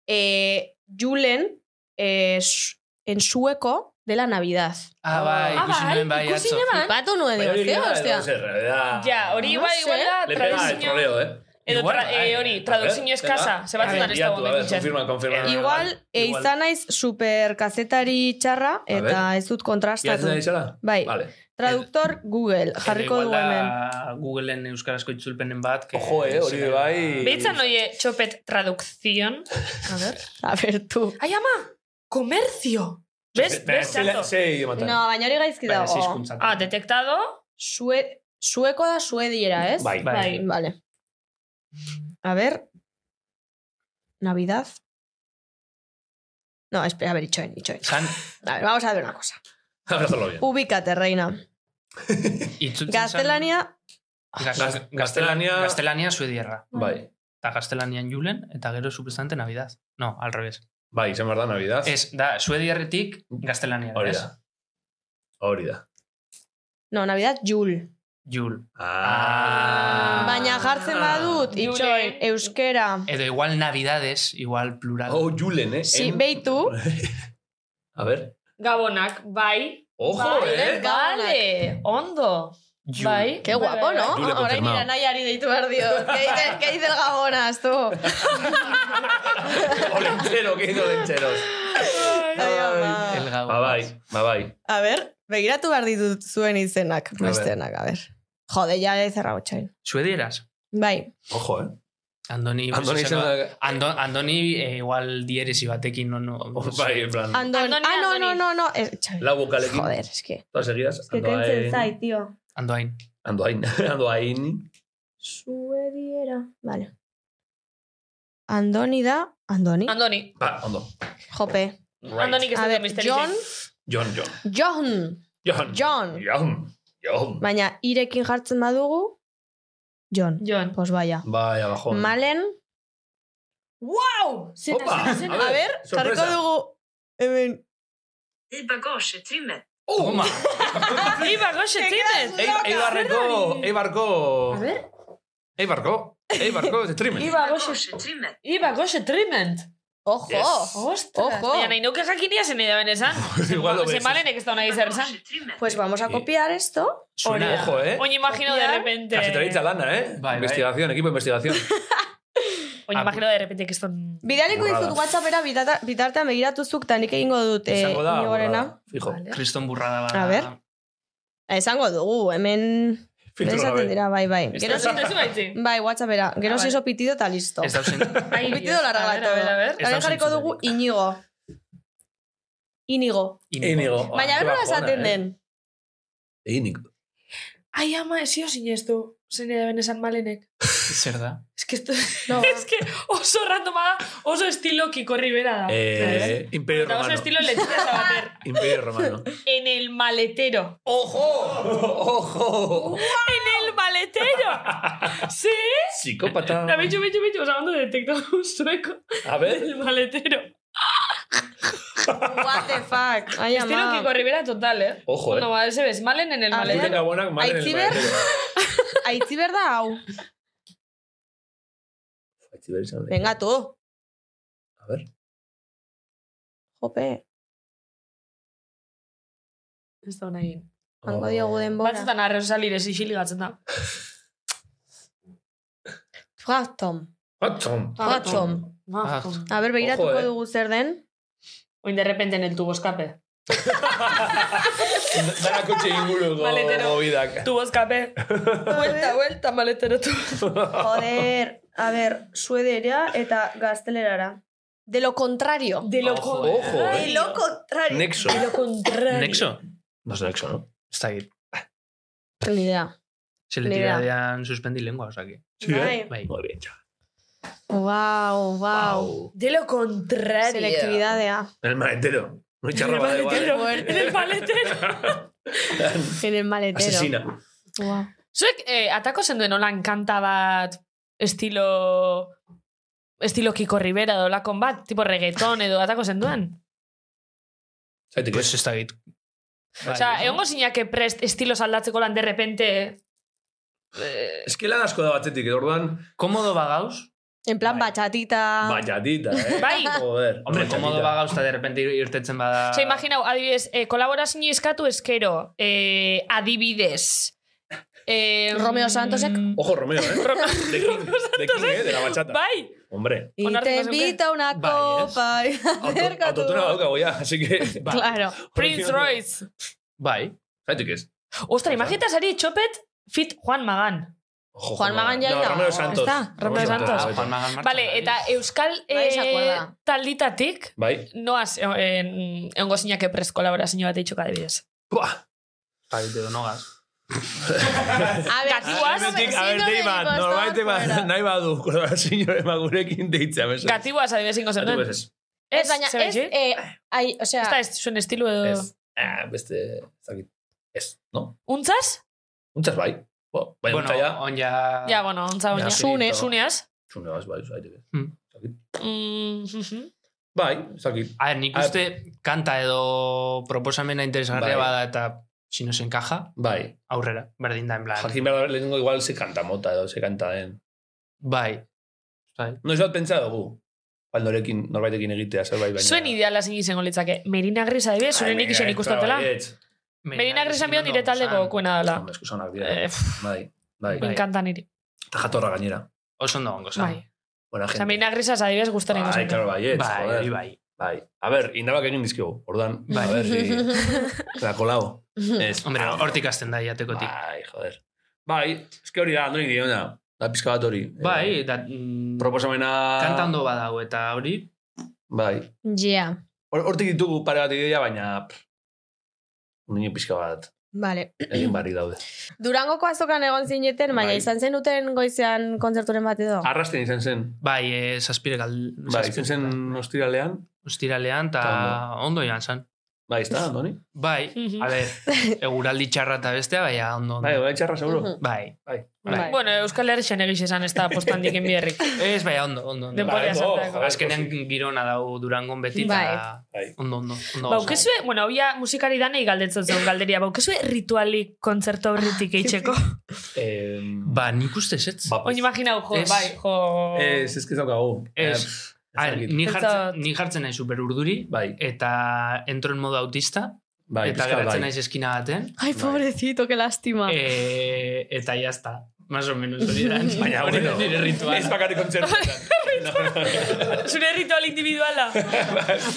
eh, Julen eh, su- en sueco de la Navidad.
Ah, bai,
Ah,
ikusi
bai,
nuen bai
ikusi
atzo.
neban.
Batu nuen,
Baina
digo,
hori
ze,
da,
ostia.
edo zer, da-
Ja, hori
No
igual,
sé.
igual da
Le pega el
tradizio...
troleo, eh.
Edo
Igual,
tra-
bai.
eh, hori, tradizio
A ver,
eskasa,
venga.
zebatzutan ez
Bilatu,
dago
a ver,
menditxen.
Confirma, confirma.
Igual, e, izan naiz super kazetari txarra,
A ber.
eta ez dut
Ya
kontrastatu. Bai,
Vale.
traduktor Google, jarriko
Edo
dugu
igual
hemen.
da Googleen euskarazko itzulpenen bat. que-
Ojo, eh, hori bai.
Beitzan oie txopet tradukzion. A ver.
A ver, tu.
Ai, ama, komertzio. Bez, bez, txarto.
Sei idiotan.
No, baina hori gaizki
Baina ze
dago.
hizkuntzatan.
Ah, detektado.
Sue, sueko da suediera, ez?
Bai.
Bai.
Bai.
Vale. A ver. Navidad. No, espera, a ver, Ichoen, Ichoen.
San,
A ver, vamos a ver una cosa.
Abrázalo bien.
Ubícate, reina.
itzultzen zen-
Gaztelania,
Gaz-
Gaz-
Gaztelania...
Gaztelania-
Gaztelania suedierra.
Bai.
Eta gaztelanian julen, eta gero suprestante navidad. No, al revés.
Bai, izan behar da Navidad.
Ez, da, suedierretik gaztelania.
Hori
ez?
da. Hori da.
no, Navidad, Jul.
Jul.
Ah.
Baina jartzen badut,
Julen.
Itxoen, euskera.
Edo igual navidades, igual plural.
Oh, Julen, eh.
Sí,
En-
beitu.
A ver.
Gabonak, bai.
Ojo,
Bai,
eh.
Vale, ondo.
Jul.
Bai.
Qué guapo, ¿no?
Jule
Ahora
confirmado.
mira, Nayari de Ituardio. ¿Qué dice, ¿Qué dice el Gabonas, tú?
Olentzero, que hizo olentzero.
Ay, ama.
El gau.
Ba bai, ba bai.
A ver, begiratu behar ditut zuen izenak,
ver.
bestenak, a ver. Jode, ja ez errago txain.
Suedieras.
Bai,
Ojo, eh.
Andoni...
Andoni
pues,
izan
eso-
da...
Ando, Andoni eh, igual dieresi batekin no, no,
Oh, Bai, en plan.
Andoni.
Andoni,
ah, no,
Andoni.
no, no, no. Eh, txai.
Lau bokalekin.
Joder, es que...
Todas seguidas.
kentzen
Andoain.
tio.
Andoain.
Andoain. Andoain.
Suediera. Vale. Andoni da... Andoni?
Andoni.
Ba, ondo.
Jope.
Andoni, que
A
ez
ver,
dut
John...
John, John.
John!
John.
John!
John. John.
Baina, irekin jartzen badugu... John.
John.
Pues vaya.
Bai, abajón.
Malen... Wow!
Opa,
A ver, jarriko dugu... Hemen...
Oh.
Toma!
Iba, goxe, timet.
Ei, eibarreko, eibarko... Eibarko, eibarko, streamen.
Iba, goxe, trimen. Iba, goxe, trimen.
Ojo!
Yes.
Ostras.
Ojo.
Baina nahi nuke jakinia zen edo benezan.
Igual lo ves.
Zemalenek ez da nahi zer esan.
Pues vamos a
Sí.
copiar esto.
Suena...
Ojo, eh.
Oin imagino de
Copiar.
repente...
Kasetaritza lana, eh?
Bai, bai.
investigación, equipo de investigación.
Oin imagino de repente que eston...
Bidaliko
Burrada.
dizut WhatsAppera bitata, bitartean begiratu zuk, ta nik egingo dut eh,
Izango da,
Iñigorena.
borrada, fijo.
Kriston burrada bada.
A ver. Eh, Esango dugu, hemen...
Filtro
Esaten
gabe.
dira, bai, bai. Gero,
Gero zintezu baitzi.
bai, WhatsAppera. Gero
Ah, vale.
si eso pitido eta listo.
Ez dauzen...
Ai,
Un pitido
Dios.
la
A ver,
regla
a ver, a ver.
todo. Garen jarriko dugu Inigo. Inigo.
Inigo.
Inigo.
Ba,
Baina
qué
berrola
bajona,
esaten
eh.
den.
Einik.
Ai, ama, esio sinestu. Zen edo benezan malenek.
Zer da?
Es que esto... Es que oso randoma da, oso estilo Kiko Rivera da.
Eh, Imperio
Eta oso
Romano.
estilo Leticia Sabater.
Imperio Romano.
En el maletero.
Ojo! Ojo!
¡En el maletero! ¿Sí?
Psicópata.
La bicho, bicho, bicho. O sea, cuando detectado un sueco.
A
En
ver.
el maletero.
What the fuck? Ai,
Estilo Kiko
ama.
Rivera total, ¿eh?
Ojo, eh.
No, a ver, se ves. Malen en el
A ver.
Zuten
maletero.
gabonak malen el
Aitziber.
maletero.
Aitzi berda hau.
Aitziber izan da.
Venga, tu.
A ver.
Jope.
Ez da nahi.
Hango diogu denbora.
Batzutan arre osalire zixili gatzen da.
Fratom.
Batzom.
Fratom.
Ah,
Ah.
A ber,
Ojo,
begiratuko
eh.
dugu zer den.
Oin de repente en el tubo escape.
Dara kotxe inguruko
Maletero.
gobidak.
Tubo escape. vuelta, vuelta, maletero tubo.
Joder, a ber, suedera eta gaztelerara. De lo contrario.
De lo
Ojo,
contrario.
ojo, eh.
De lo contrario.
Nexo.
De lo contrario.
Nexo?
No es Nexo, ¿no?
Ez dakit.
Ni idea. Nera.
Seletidadean suspendi lengua, osaki.
Bai.
Bai.
Muy bien, chaval.
Wow, wow.
De lo contrario.
Selektibidadea.
En el maletero. No
En
hay
el
charraba da igual.
maletero. En el maletero.
En el maletero.
Asesina.
Wow.
Zuek, eh, atako zenduen olan kanta bat, estilo... Estilo Kiko Rivera edo lakon bat, tipo reggaeton edo atako zenduen.
Zaitek
Pues
ez.
ez dakit. Bai.
Osea, egongo zinake prest estilo aldatzeko lan de repente... Eh,
Es que lan asko da batetik, edo orduan,
Komodo bagauz?
En plan
Bai.
bachatita.
baiatita, eh?
Ah. Bai.
Joder.
Hombre, komodo bagauz eta derrepente irtetzen bada...
Osea, imaginau, adibidez, eh, kolaborazio eskatu eskero, eh, adibidez. Eh,
Romeo Santosek?
mm,
Ojo, Romeo, eh?
Ro-
De King, de King, eh? De la bachata.
Bai,
Hombre.
Y
Onartu
te
zeneuke?
invita una
Bai, ez.
copa.
Auto-
Acerca tu
Autotuna
voz.
daukago, ya, así que... Ba.
Claro.
Prince Royce.
Bai.
Zaitek ez.
Ostra, imagita sari txopet fit Juan Magan.
Ojo,
Juan Magán ya
no,
era.
Romeo Santos.
Está,
Romeo Santos.
Ah,
Juan
bai.
Magan Martza,
Vale,
bai.
eta euskal
Bai, se
eh,
acuerda.
talditatik,
Bai.
noaz, eh, egongo zinake prest kolaborazio bat eitxoka adibidez.
Buah.
Bai, de donogaz.
A ver,
Gatiguaz,
si no me-
Ah, Hemendik,
si
a ver,
no me
dei bat,
digo,
norbait
estaban
bat,
fuera.
nahi badu, kolaborazio emagurekin deitzea, mesedez.
Gatiguaz adibidez eh? ingo
Zaitek
zenuen.
ez ez.
Ez, baina, ez,
eh,
eh, ai, o sea,
Esta ez zuen estilo edo...
Ez. Ah, beste, ez dakit. Ez, no?
Untzaz?
Muchas bai. Bo, Baina,
Bueno,
bueno, ja,
on
Ah.
ja...
Ja, bueno, untza
Ja,
oina.
Zune.
Zuneaz?
txuneaz bai, zaitek ez.
Hmm.
Ez dakit.
Mm, mhm.
Bai, ez dakit.
A ver, nik
A ver.
uste kanta edo proposamena interesgarria
Bai.
bada eta si nos encaja,
Bai.
aurrera, berdin da en plan.
Jakin behar da lehenengo igual ze kanta mota edo, ze kanta den.
Bai. Bai.
Noiz bat pentsa dugu. Baldorekin, norbaitekin egitea, zerbait baina.
Zuen ideala zein izango litzake. Merina Gris adibidez, zuen nik isen ikustatela. Merina Gris enbion nire taldeko kuena dela.
Hombre, eskusonak dira.
Eh, pff,
Bai, bai.
Me encanta niri.
Eta jatorra gainera.
Oso ondo gongo,
Bai.
Buena
Osa,
gente.
Merina Grisaz adibidez gustan ingo
Bai,
zenuen.
claro, baietz.
Bai,
joder.
hori bai.
Bai. A ber, indabak egin dizkigu, ordan.
Bai.
A ber, si... la kolabo. Ez. ah,
Hombre, hortik hasten da jatekotik.
Bai, joder. Bai, eske hori da, Andoni diona. Da pizka bat hori.
Bai,
Eh,
eta... mm,
proposamena...
Kanta ondo badago eta hori...
Bai.
Yeah,
Hor- Hortik ditugu pare bat ideia, baina... pff, Nino pizka bat
vale.
egin barri daude.
Durangoko azokan egon zineten, baina
Bai.
izan zenuten goizean kontzerturen bat edo.
Arrasten izan zen.
Bai, eh, zazpire gal...
Bai, izan zen ostiralean.
Ostiralean eta
Ta
ondo joan zen.
Bai, ez da, Andoni?
Bai,
Mhm.
a ber, eguraldi txarra eta bestea, baina ondo.
Bai,
ondo.
bai, txarra seguro.
Mhm.
Bai.
Bai.
Bai.
Bueno, Euskal Herrixen egiz esan ez da postandik enbierrik.
Ez, baina ondo, ondo. ondo.
Denbora
Bai, bo,
sartako.
joder,
Azkenean girona dau durangon beti, eta
Bai.
ondo, ondo. ondo
Baukezue, Ba, bueno, hoia musikari danei galdetzen zuen galderia, ba, baukezue ritualik kontzertu horretik eitzeko.
Eh,
Ba, nik uste ez.
ba, pues.
Oin imaginau, jo,
Ez.
bai, jo...
Ez, ez que zaukagu.
Ez. A ver,
dakit.
ni
Pentsat-
jartzen, ni jartzen nahi super urduri,
Bai,
eta entro en modo autista,
bai,
eta
pixka bat,
geratzen
bai.
naiz eskina baten,
Ai, pobrecito, que lástima.
Eh.
e, eta jazta. Más o menos hori da.
Baina,
hori da
bueno,
nire
Ez
rituala.
bakarrik kontzertuetan.
Zure ritual individuala.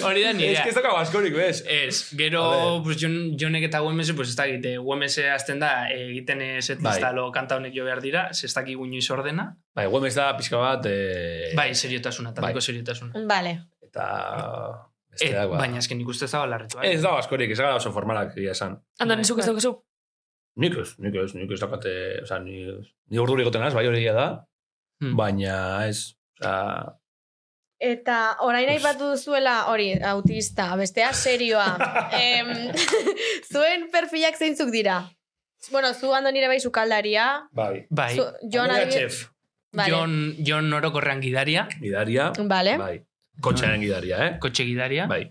Hori da nire.
Ez que ez daukagu askorik, bez.
Ez,
A
gero,
ver.
pues, jon, jonek eta UMS, pues, ez dakit, eh, UMS hasten da, eh, egiten eh, setlista
Bai.
lo kanta honek jo behar dira, ez dakik guinoiz ordena.
Bai, Güemes da pixka bat... Eh,
Bai, seriotasuna, taldeko
Bai.
seriotasuna.
Vale.
Eta...
Eh,
besteak, ba.
baina esken ikuste zabala ritual.
Ez dago askorik, ez gara oso formalak, egia esan.
Andoni, zuk ez
Bai.
daukazu.
Nik ez, nik ez, nik ez daukate... Osa, ni, ni urduri goten az, bai hori egia da,
Hmm.
baina ez... Osa,
Eta orain
Uf.
aipatu duzuela hori, autista, bestea serioa. em, zuen perfilak zeintzuk dira? Bueno, zu ando nire bai sukaldaria.
bai.
Bai,
Zu, Jon
Andrea
adibidez-
Chef,
Vale.
Jon, Jon orokorrean gidaria,
gidaria,
Vale.
eh?
bai. Kotxearen gidaria, eh?
kotxe gidaria,
Bai.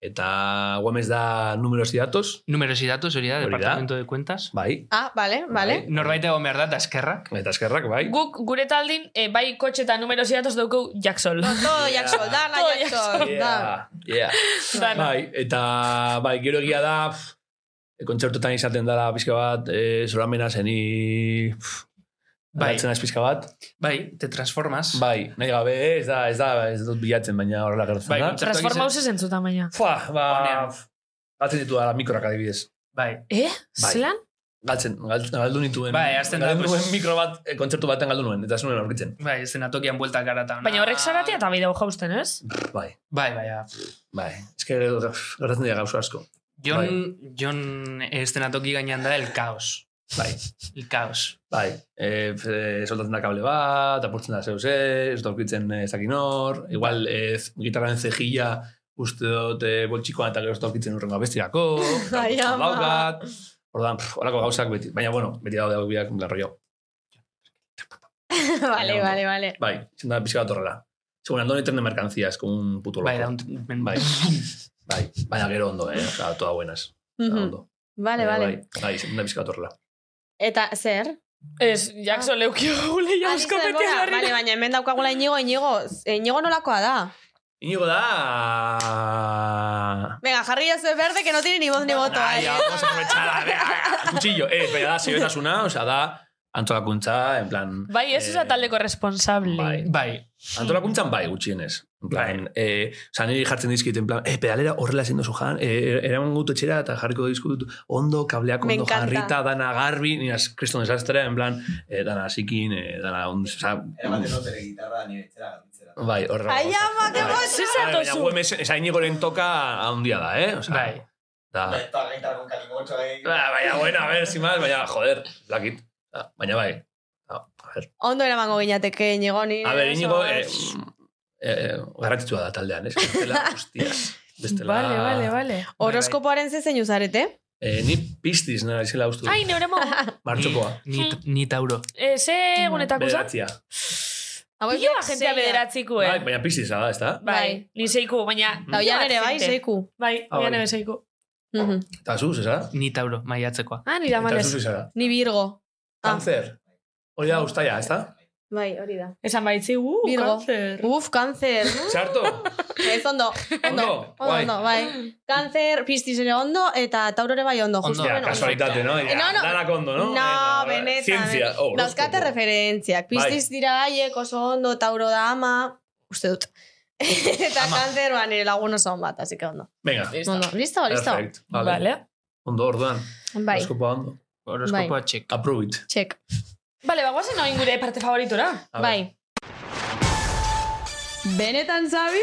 Eta Güemes da números y datos,
numeros y datos, hori da,
Hori da.
departamento de cuentas.
bai.
Ah, vale, vale.
Bai.
Norbait egon behar da, eta eskerrak.
Eta eskerrak, bai.
Guk gure taldin, eh, bai kotxe eta numeros idatuz dauku jaksol.
Todo jaksol, dana
Todo
jaksol. da.
Yeah, yeah.
Dana.
Bai, eta bai, gero egia da, pf, kontzertutan izaten dela pizka bat, e, zoramena zeni... pf,
Bai.
aldatzen naiz pizka bat.
Bai, te transformas.
Bai, nahi gabe, ez da, ez da, ez dut bilatzen, baina horrela gertzen
Bai,
da.
kontzertu-
Transforma hau zentzutan baina.
Fua, ba,
Onean.
pf, batzen ditu da mikroak adibidez.
Bai.
Eh?
Bai.
Zelan?
galtzen, gal- galdu nituen.
Bai, hasten da,
galdu
pues-
nuen mikro bat, eh, kontzertu baten galdu nuen, eta ez nuen aurkitzen.
Bai, eszenatokian bueltak gara eta...
Baina horrek zaratia eta bideo jausten, ez?
Bai,
Bai, bai, ja.
bai. Ez que uff, gertatzen dira gauza asko.
Jon, Jon eszenatoki gainean da el kaos.
Bai,
El kaos.
bai. E, e, soltatzen da kable bat, apurtzen da zeu ze, ez da aurkitzen eh, ez dakin hor, igual e, ez, gitarraren zejilla uste dut eh, boltsikoan eta gero ez da aurkitzen urrengo abestirako,
Ai,
eta
Bai, ama.
daukat, ordan, pff, horako gauzak beti, baina bueno, beti daude hau biak, lan rollo.
vale, vale, vale.
Bai, izan da pixka bat horrela. Según Andoni tren de mercancías, como un puto loco.
Bai, da un...
Bai, bai, baina gero ondo, eh? Osa, toda buenas.
Mhm.
Toda ondo.
Vale,
Baina
vale.
Bai, bai, izan da pixka bat horrela.
Eta zer?
Ez, Jackson ah. leukio gule
Alisto,
jausko beti
denbora.
jarri.
Vale, baina hemen daukagula inigo, inigo. Inigo nolakoa da.
Inigo da...
Venga, jarri ese verde que no tiene ni voz ni voto. eh.
Ai,
Ay,
vamos a aprovechar. venga, Cuchillo. Eh, baina da, seriotasuna, o sea, da... Antolakuntza, en plan...
Bai, ez
eh,
da taldeko responsable.
bai.
Bai,
Antolakuntzan bai, gutxienez. En plan, eh, oza, niri jartzen dizkit, en plan, eh, pedalera horrela zindu zu jan, eh, eraman gutu etxera eta jarriko dizkut ondo, kableak
Me
ondo
encanta.
jarrita, dana garbi, nina kriston desastre, en plan, eh, dana zikin, eh, dana ondo, oza,
Eramaten dut ere gitarra nire etxera galditzera.
bai, horrela.
Ai, ama, que
Bai.
Zer
Bai, baina
zatozu?
UMS, eza inigoren toka handia da, eh? Oza,
bai.
Da,
Eta gaitarra con eh. kalimotxo gai.
Ba, baina, bueno, a ver, sin más, baina, joder, lakit. Ah, Baina bai. Ah, a ver,
Ondo eramango ginateke inigo ni.
a ver,
oso-
inigo, eh, mm, eh, garrantzitsua da taldean, ez? Bestela, hostias. Bestela...
Vale, vale, vale.
Horoskopoaren ze zein uzarete?
Eh, ni piztiz nara izela ustu.
Ai, neure mo.
Martxokoa.
Ni, ni tauro.
Eh, ze egunetako zan?
Bederatzia.
Pilo ba jentea bederatziko, eh?
Bai, baina piztiz da, ez da?
Bai, ni seiku, baina...
Da oian ere bai,
Gente.
seiku.
Bai,
Ah,
oian
bai.
ere seiku.
Mhm.
Eta zuz, ez da?
Ni tauro, maiatzekoa.
Ah, nira
Eta
malez.
zuz, ez da?
Ni Virgo. Ah.
Kanzer. Hori da, ustaia, ez da?
Bai, hori da.
Esan baitzi, uh,
Virgo.
kanzer.
Uf, cáncer.
Txarto?
Ez ondo. Ondo,
Ondo,
ondo,
guai.
ondo, bai. Cáncer, pistis ere ondo, eta taurore bai ondo. Justo,
Ostia,
bueno, Eh,
kasualitate, no? Ja,
No, no.
Danak ondo, no?
No,
Venga, bai.
benetan. eh.
Zientzia. Oh,
Dauzkate
horoskopo.
referentziak.
Bai.
Piztiz dira haiek oso ondo, tauro da ama, uste dut. Eta kanzer, ba, nire lagun oso on bat, así que ondo.
Venga.
Ondo, listo, listo.
Perfect. Vale.
Vale.
Ondo, orduan.
Bai,
Horoskopoa ondo.
Horoskopoa txek.
Approve it.
check.
Vale, bagoazen oin gure parte favoritora.
A
bai.
Benetan, Zabi?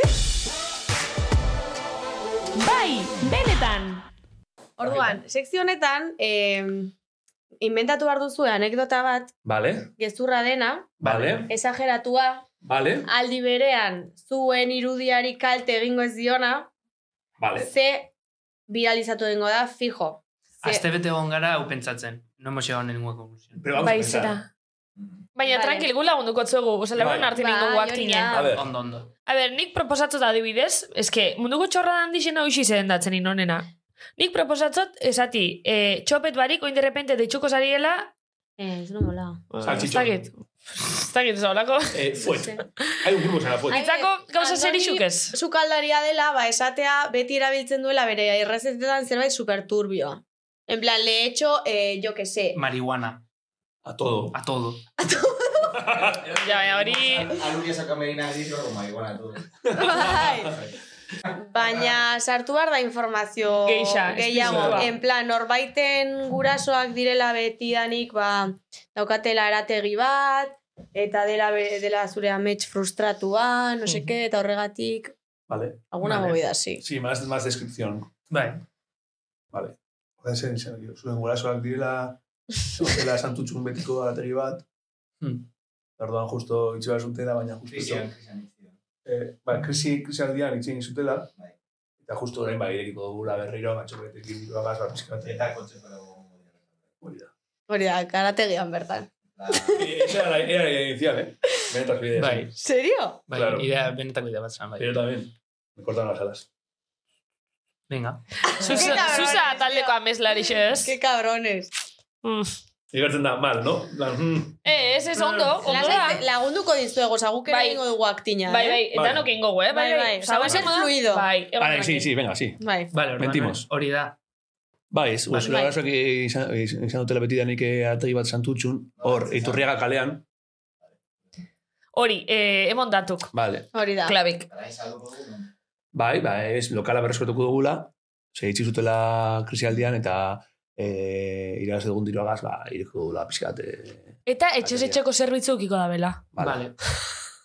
Bai, benetan.
Orduan, sekzio honetan, eh, inventatu behar duzu anekdota bat,
Vale,
gezurra dena,
vale,
esageratua,
vale,
aldi berean, zuen irudiari kalte egingo ez diona,
vale.
ze viralizatu egingo da, fijo. Ze-
Azte bete egon gara, hau pentsatzen. No hemos llegado a ninguna conclusión.
Pero vamos a
Bai,
empezar.
zera. Baina,
Vale.
tranquil, gu lagunduko tzuegu. Osa, lagun
Bai.
arte
Bai,
ningo
hori
guak
da.
ginen.
A ver,
Ondo, ondo.
A ber, nik proposatzu da adibidez, eske, munduko txorra dan dixen hau isi datzen inonena. Nik proposatzot, esati, eh, txopet barik, oin derrepente deitxuko zariela,
Eh, ez no mola.
Ah,
ez
Salchichón.
dakit, ez dakit zaulako.
eh, fuet. Hay un grupo que se llama fuet.
Ay,
Itzako gauza
Bai, Andoni-
zer ez.
Sukaldaria dela, ba, esatea, beti erabiltzen duela bere errezetetan zerbait superturbioa. En plan, le he hecho, eh, yo que sé.
Marihuana.
A todo.
A todo.
Ja, baina hori...
Aluria sakamerina gizro con marihuana todo.
Bai. Baina sartu behar da informazio
Geixa,
gehiago.
esplizitua.
En plan, norbaiten gurasoak direla betidanik, ba, daukatela arategi bat, eta dela, be- dela zure amets frustratua, no sé qué, eta horregatik,
Vale.
alguna
Vale.
movida, sí.
Sí, más, más descripción.
Bai.
Vale. Joder, zen izan, jo, zuen gurasoak direla, zutela santutxun betiko ateri bat,
Hmm.
Orduan justo itxi behar zutela, baina justo...
Krisian, krisian itzidan.
Eh, ba, krisi, krisialdian itxi egin zutela,
Bai.
eta justo orain ba, irekiko dugula berriro, matxoketekin, dirua gaz bat pizkat.
Eta kotxeko dago.
Hori da.
Hori da, karategian bertan.
La...
Eh, Esa era la, era la idea inicial, ¿eh? Menos ideas.
Bai.
Serio?
Bai,
Claro.
idea, benetako idea bat zen,
Pero
bai.
yo también. Me cortaron las alas.
Venga.
Susa,
cabrón,
Susa
tío.
taldeko amezlari ez.
Qué cabrones.
Mm.
Y Gertzen da, mal, ¿no? En plan, mm,
Eh, ez ez ondo, ondo da.
Lasai, lagunduko dizuegu, oza, guk ere
Bai.
egingo dugu aktina.
Bai, bai,
eh?
eta
Vale.
no kengo, eh? Bai,
Bai,
bai,
bai,
Osea,
va a
oso
ser
ondo da.
fluido.
Bai, egon
Vale, sí,
tranquil.
sí, venga, sí. pues,
bai.
Vale, orduan,
Mentimos.
Hori da.
Bai, ez,
Vale.
Ursula Basoak izan, izan dutela betidanik eh, ategi bat santutxun, hor, iturriaga kalean.
Hori, eh, emon datuk.
Vale.
Hori da.
Klabik.
Gara izalduko dugu.
Bai, ba, ez, lokala berreskuratuko dugula, ze itxi zutela krisialdian, eta eh, irabazi dugun diruagaz, ba, iriko dula pixkat, eh,
Eta etxez etxeko zerbitzu ukiko da bela.
Vale.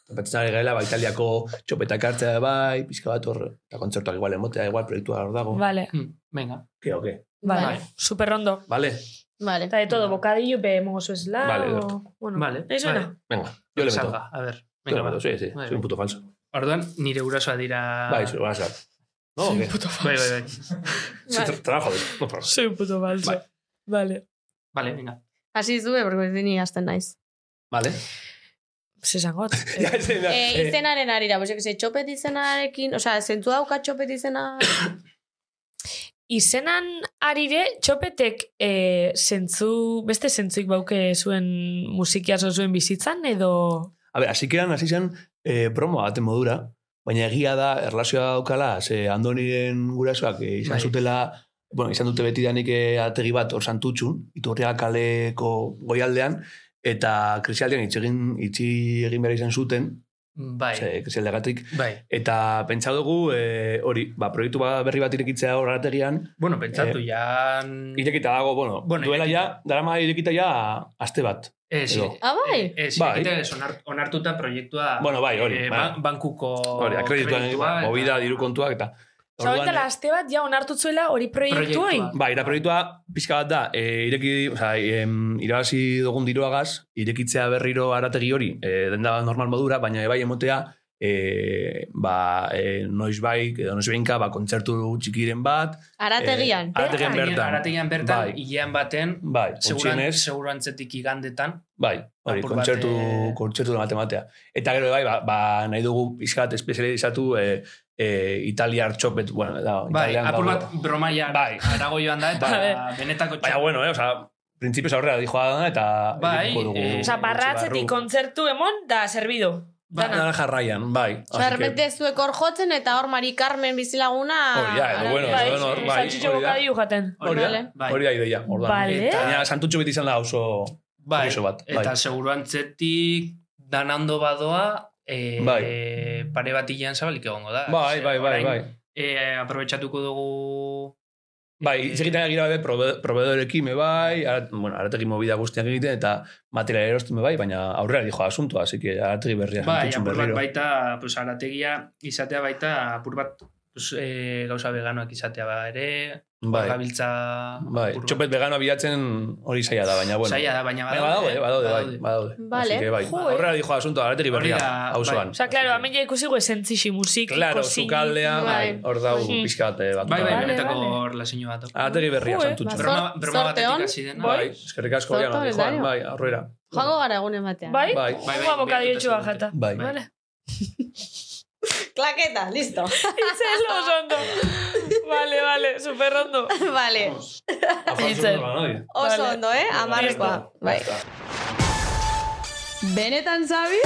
Pentsatzen ari garela, ba, italiako txopetak hartzea bai, pixka bat hor, eta kontzertuak igual emotea, igual proiektua hor dago.
Vale,
Hmm, Venga.
Ke, oke,
vale.
Vale.
Super ondo.
vale?
Vale.
Eta de todo, bocadillo, be, mogo zuesla,
Vale,
o... Bueno,
Vale.
Eso
vale.
no.
Venga,
Lo que
yo le meto.
salga, a ver.
Yo
Venga,
le
va. Ah.
meto, sí, sí,
Vale,
soy un
venga.
puto falso.
Orduan, nire gurasoa dira...
Bai, zure vas a No, oke?
Bai, bai, bai.
Sí, tra- trabajo, no problema.
Soy un puto falso.
Vale.
Vale.
Vale, venga.
Hasi zube, porque ni hasten naiz.
Vale.
Zesangot.
Ja, ez da.
Eh,
eh,
izenaren arira, pues, yo que se, txopet izenarekin, o sea, zentu dauka txopet izena...
Izenan arire, txopetek e, zentzu, beste zentzuik bauke zuen musikia zo zuen bizitzan, edo...
A ver, hasikeran hasi zen eh, promo baten modura, baina egia da erlazioa daukala, ze Andoniren gurasoak eh, izan
Bai.
zutela, bueno, izan dute betidanik eh, ategi bat hor santutxun, iturria kaleko goialdean, eta krisialdean itxi egin, itxi egin behar izan zuten,
Bai,
ze krisialdeagatik,
bai.
eta pentsa dugu, eh, hori, ba, proiektu ba- berri bat irekitzea hor artegian,
Bueno, pentsatu,
Eh,
ya...
irekita dago, bueno,
Mm. Bueno,
duela
irekita.
ja, darama irekita ja aste bat.
Ez,
edo.
Ah, bai?
Ez,
Bai.
bai. ez, onar- onartuta proiektua...
Bueno, bai, hori,
eh,
bai.
ban- bankuko...
Hori, akredituan,
kreditua,
movida,
Oh, eta-
diru kontuak, eta...
Osa,
Orduan,
la aste bat, ja onartutzuela hori proiektua.
Proiektua.
Ba, ira proiektua pixka bat da, e, ireki, oza, em, irabazi dugun diruagaz, irekitzea berriro arategi hori, e, denda bat normal modura, baina ebai emotea, e, ba, e, noiz bai, edo noiz behinka, ba, kontzertu txikiren bat,
Arategian.
Eh, arategian bertan.
Arategian bertan,
Bai.
hilean baten,
bai,
seguran,
gutxienez,
segurantzetik igandetan,
bai, hori,
apur bat,
kontzertu,
eh,
kontzertu bat ematea. Eta gero bai, ba, ba nahi dugu pixka bat espezializatu, e, e, italiar txopet, bueno, da,
Bai,
Ba, italian
apur
gaur-
bat bromaia
Bai.
arago joan
A
da,
ver.
eta Bai. benetako
Baina,
txar-
bueno, eh, oza, Principios aurrera dijoa dana eta
Bai,
irekiko dugu
eh,
Osa,
gutxi
barratzetik
barru.
kontzertu emon, da, servido.
Ba,
Dana.
Dana jarraian, bai.
Osa, errepente zuek hor jotzen, eta hor Mari Carmen bizilaguna...
Hori da, edo, Ah, bueno,
bai,
edo, hor, bai,
saltxitxo
hori da.
bocadillo jaten.
Hori da,
Vale.
Bai.
hori da ideia, ordan.
Vale.
Baina santutxo beti izan da oso...
bai,
Kurioso bat, bai.
eta segurantzetik danando badoa, eh,
Bai.
pare bat hilean zabalik egongo da.
Bai,
Ze,
bai, bai,
orain,
bai.
eh, aprobetxatuko dugu... eh,
Bai, itzekitan egira bai, probe- proveedorekin me bai, ara, bueno, arategi movida guztiak egiten, eta material erosten me bai, baina aurrera dijo asuntua, así que arategi berria
Bai,
santutxun
apur bat
berriro.
baita, pues, arategia izatea baita, apur bat pues, eh, gauza veganoak izatea ba ere,
Bai,
gabiltza...
bai.
apur bat.
Txopet vegano bilatzen hori zaila da, baina, bueno.
Saia da, baina
Baina badaude, badaude, bai, badaude.
Vale.
Así que bai,
Jo, eh.
aurrera dijo asuntua, arategi
Hori
berria,
da,
hausoan.
bai.
Osa, claro, hemen ja ikusi guesentzixi musik,
Claro, zukaldea, bai,
bai.
hor dau
Bai.
pixka bat Ah. eh, batuta.
Bai, bai,
Vale,
benetako
vale.
hor laseño bat.
Arategi berria
Jo, eh,
santutxu.
bazor-
Broma, broma
Zorte on.
batetik hasi dena.
Bai, eskerrik asko
Zorte on,
Diana, Joan,
Dario.
bai, aurrera.
Joango gara egunen batean.
Bai?
Bai,
Bai, bai,
Bai, bocadillo
bihar
txua
dute
jata.
bai.
Vale.
Klaketa, listo.
Itzelo oso ondo. Vale, vale, super ondo.
vale,
Itzen.
oso
Vale.
ondo, eh? Amarrekoa. Bai. Benetan, Zabi?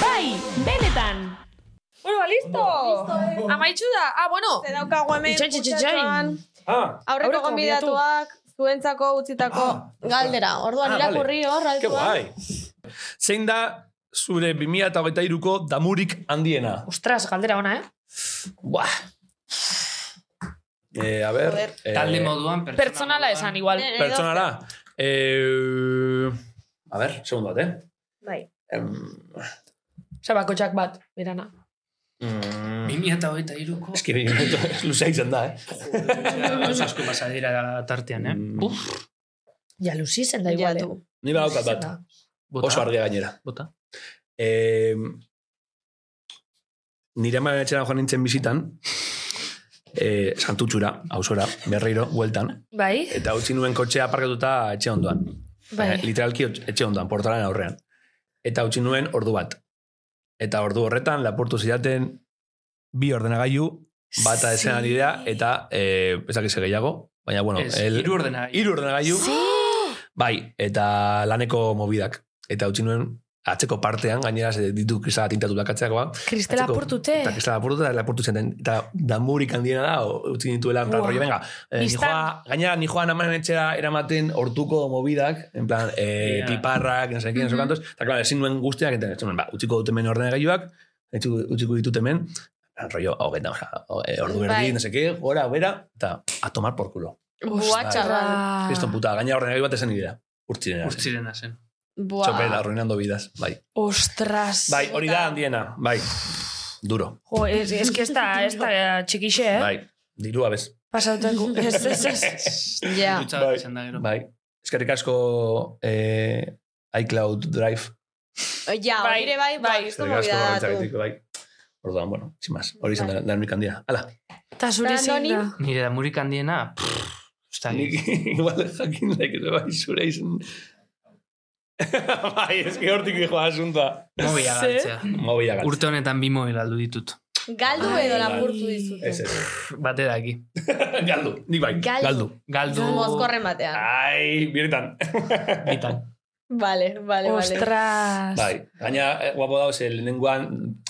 Bai, benetan. Bueno, ba, listo. Amaitxu da. Ah, bueno.
eh. Ze daukagu hemen
Itxain, itxain, itxain.
kutxatxoan.
Ah,
Aurreko
Aurreko
gonbidatuak, zuentzako utzitako galdera. Orduan
Ah, vale.
irakurri hor,
que
altuan.
guai. Zein da zure 2023ko damurik handiena?
Ostras, galdera ona, eh?
Buah. Eh, a
Joder.
ver. Eh,
Talde moduan, pertsona
Pertsonala
moduan.
esan igual.
Eh,
Pertsonara. Eh, a ver, segundo bat, eh?
Bai.
Em,
Osa, bakotxak bat, berana.
Mm,
2023ko.
es que luzea izan da, eh?
Gauza asko pasa dira tartean, eh?
Mm,
Ja, luzi zen da
Ja,
igual, eh?
tu.
Ni badaukat bat,
Bota.
oso argia gainera.
Bota.
Eh, nire amaren etxera joan nintzen bizitan, eh, santutxura, ausora, berriro, bueltan,
Bai,
eta utzi nuen kotxea parkatuta etxe ondoan. Eh,
bai.
literalki etxe ondoan, portalan aurrean. Eta utzi nuen ordu bat. Eta ordu horretan, lapurtu zidaten bi ordenagailu, bata esan dira, eta eh, ezakize gehiago, baina bueno,
Ez,
el-
hiru ordena.
hiru ordenagailu, Bai, eta laneko mobidak. Eta utzi nuen atzeko partean, gainera ze ditu kristala tintatu dakatzeakoa.
Kristela
Atzeko-
purtute.
Eta kristala lapurtu eta lapurtu zen. Eta damurik handiena da, o- utzi nituela, en plan,
Ua.
rollo, venga, eh, ni
Bistan.
joa, gainera ni joan amanen etxera eramaten hortuko mobidak, en plan, eh,
Ya.
piparrak, no sé qué, no sé cuántos. Eta, claro, ezin nuen guztiak, eta ez nuen, ba, utziko dut hemen ordenagailuak, utzi- utziko ditut hemen, rollo, hau benda, osea, o- eh, ordu
Bai.
erdi, no seke, gora, bera, eta a tomar por culo.
Buah,
Bai.
chaval.
Ah.
Esto puta, gaina horren bat esen idea. Urtsirena. zen.
Urtsirena zen.
Bai.
Buah.
Txopera, arruinando vidas, bai.
Ostras.
Bai, hori da handiena, bai. Duro,
Jo, es, es que esta, esta txikixe, eh?
bai. Dirua bez.
Pasauten gu. Ez, ez, ez.
Ja.
Dutxa
Bai.
bat izan da gero.
Bai. Eskerrik asko eh, iCloud Drive.
Ja,
Bai,
hori ere bai,
bai.
bai, esto
Eskerrik asko
movida da
horrentzagatik,
tu.
bai. Orduan, bueno, sin más. Hori izan da, da nik handia. Hala.
Eta zure
Ta
zein da.
anonim?
Nire da murik handiena, pff, ez da,
Nik igual jakin laik ere bai zure izan. bai, eski hortik dijo asunta.
mobila
Ze?
galtzea.
Mobila galtzen.
Urte honetan bi mobil aldu ditut.
Galdu edo
Ai.
lapurtu dizute.
Ez, ez.
Pff, Bate daki.
Galdu. Nik bai.
Galdu.
Galdu.
Galdu.
Mozkorren batean.
Ai, biretan.
Bitan.
Vale, vale, vale.
Ostras.
Bai, gaina eh, guapo dago, ze lehenengoan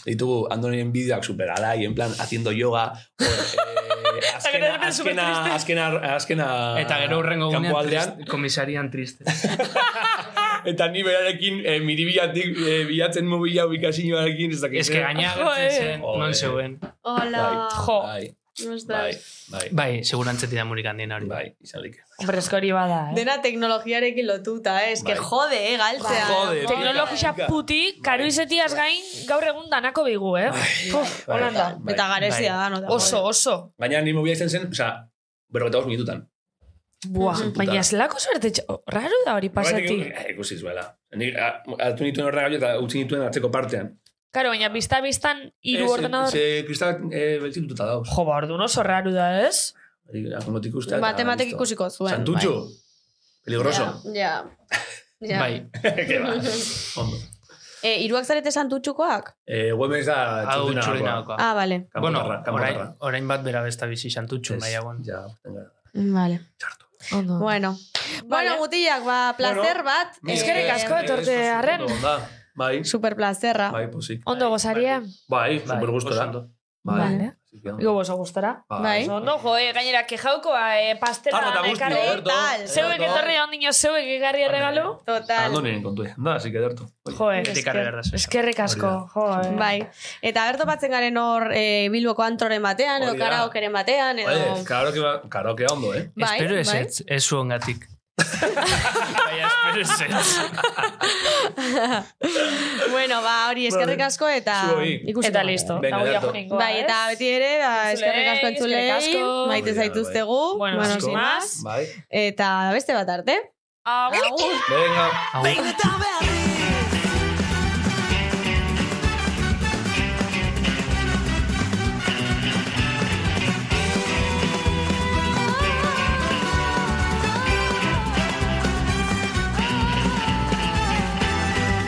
ditugu Andonen bideoak superalai, en plan, haciendo yoga, hor, eh,
gero de
azkena,
repente
azkena,
supertriste.
azkena, azkena,
Eta gero hurrengo gunean
Ah, kanpoaldean,
trist- komisarian triste.
eta ni berarekin eh, miribilatik eh, bilatzen mobila ubikazioarekin, ez dakit. eh.
Ez que gaina
Joder.
gertzen zen, non
Joder.
zeuen.
Hola.
Jo.
Bai, bai,
Ostras.
bai, bai,
Bai, segurantzetik da murik handiena hori.
bai, izan like.
Hombre, esko hori bada, eh?
Dena teknologiarekin lotuta, eh? eske
Bai.
jode, eh, galtzea.
Jode,
Teknologisa
Bai.
puti, karu izetiaz gain, gaur egun danako bigu, eh? Puf,
bai,
Holanda.
bai.
Eta garezia
Bai.
da, nota.
Oso, oso.
Gaina ni mobila izan zen, oza, berrogeta bost minututan.
Buah,
Mhm.
baina zelako suerte, tx- raro da hori pasati.
Horregatik, eh, Ikusi zuela. Ni a- hartu nituen horrega eta utzi nituen atzeko partean. Eh,
Karo, baina bizta-biztan hiru ordenador.
Ze kristal eh, beltzituta dauz.
Jo, ba, orduan oso raro da, ez?
Akomotik ikustea. eta
Matematik
listo.
ikusiko zuen.
Santutxo.
bai.
Peligroso.
Ja, ja.
Bai,
Que va. Ondo.
Eh, iruak zarete santutxukoak?
Eh, web ez da
hau txurinakoa.
Ah, vale.
Bueno,
Bueno,
orain, orain bat bera besta bizi xantutxun, baina bueno.
Ja, tenga.
Vale.
Ondo.
Bueno. Bueno, mutilak, ba, placer
Bueno,
bat.
Eskerrik asko,
eh,
etorte
Eh,
arren.
ondo, Onda, bai.
Super plazerra.
Bai, posik.
Ondo gozaria.
Bai, super
oso
gustora.
ondo.
Bai.
Vale.
Así que ondo.
Igo oso gustara.
Bai.
Ondo, jo, eh, gainera, kejaukoa, eh,
Arro
pastela
eta guzti,
nekarri.
ederto.
tal?
Zeuek
Ederto.
etorri ondino, zeuek egarri erregalo.
Total.
Andonen kontue. Da, así que derto.
Jo, eh,
Beti karga gerda zen.
eskerrik asko. Jo, eh.
Bai. Eta berto batzen garen hor eh, Bilboko antroren batean, edo
Hori da.
karaokeren batean, edo...
Oye, karaoke, ba- karaoke ondo, eh?
Bai,
espero ez
bai.
ez, ez zuongatik. Baina espero ez ez.
Bueno, ba, hori, eskerrik asko eta...
Zuoi.
ikusiko
Eta
gara.
listo.
Venga,
Eta guia
Alberto.
joningoa,
Bai, eta
ez?
beti ere, ba, eskerrik asko
Entzulei,
entzulei,
eskerrik asko.
maite
Hori da,
zaituztegu,
Bueno,
bueno,
asko.
sin más.
Bai.
Eta beste bat arte.
Agur.
Venga.
Bai,
Agur.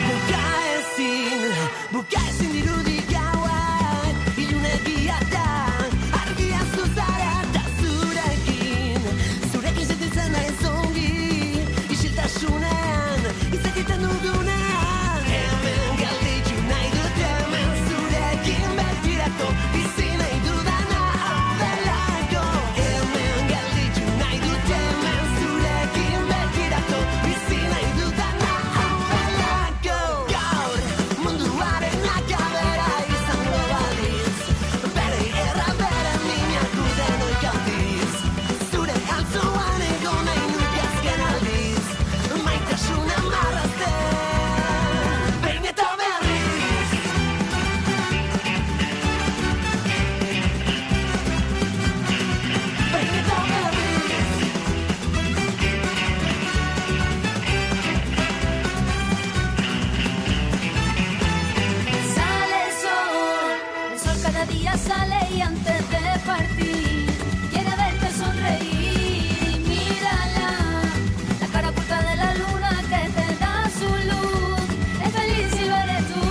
Buka ezin, buka ezin dirudi gauan Ilunegia da, argia zuzara eta zurekin Zurekin sentitzen naiz ongi, isiltasunean Izakiten dugunean Hemen galditu nahi dut hemen zurekin Betirako bizi nahi dudana hau delako Hemen galditu nahi dut hemen zurekin Betirako bizi nahi dudana hau delako Gaur munduaren akabera izango baliz Bere erra bere minak duten oikatiz Zure altzuan egon nahi nuke azken aldiz Maitasuna marrazten Behin eta berriz Behin eta berriz
Sale el sol, el sol cada día sale y antes de partir quiere verte sonreír y mírala, la cara oculta de la luna que te da su luz, es feliz si lo eres tú.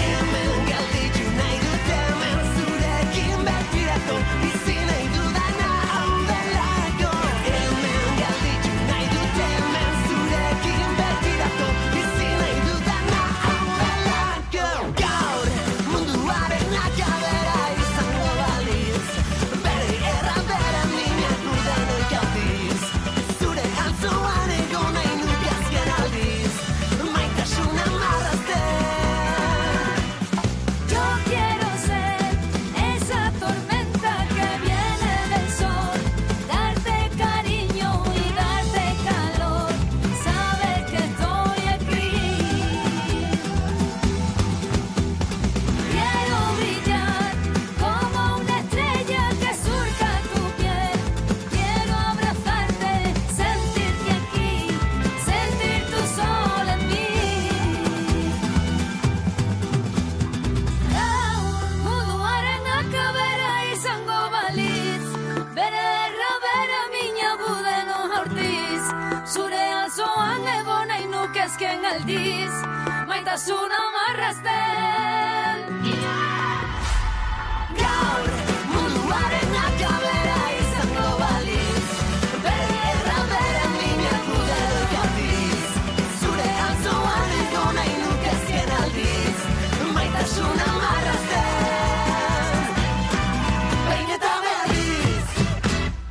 Hemen galditu nahi dut hemen zurekin berpiratu Bizi nahi dudana hau delako Hemen galditu nahi dut hemen zurekin berpiratu Bizi nahi dudana hau delako Gaur munduaren akabera izango baliz
azken aldiz, maitasuna marrazten.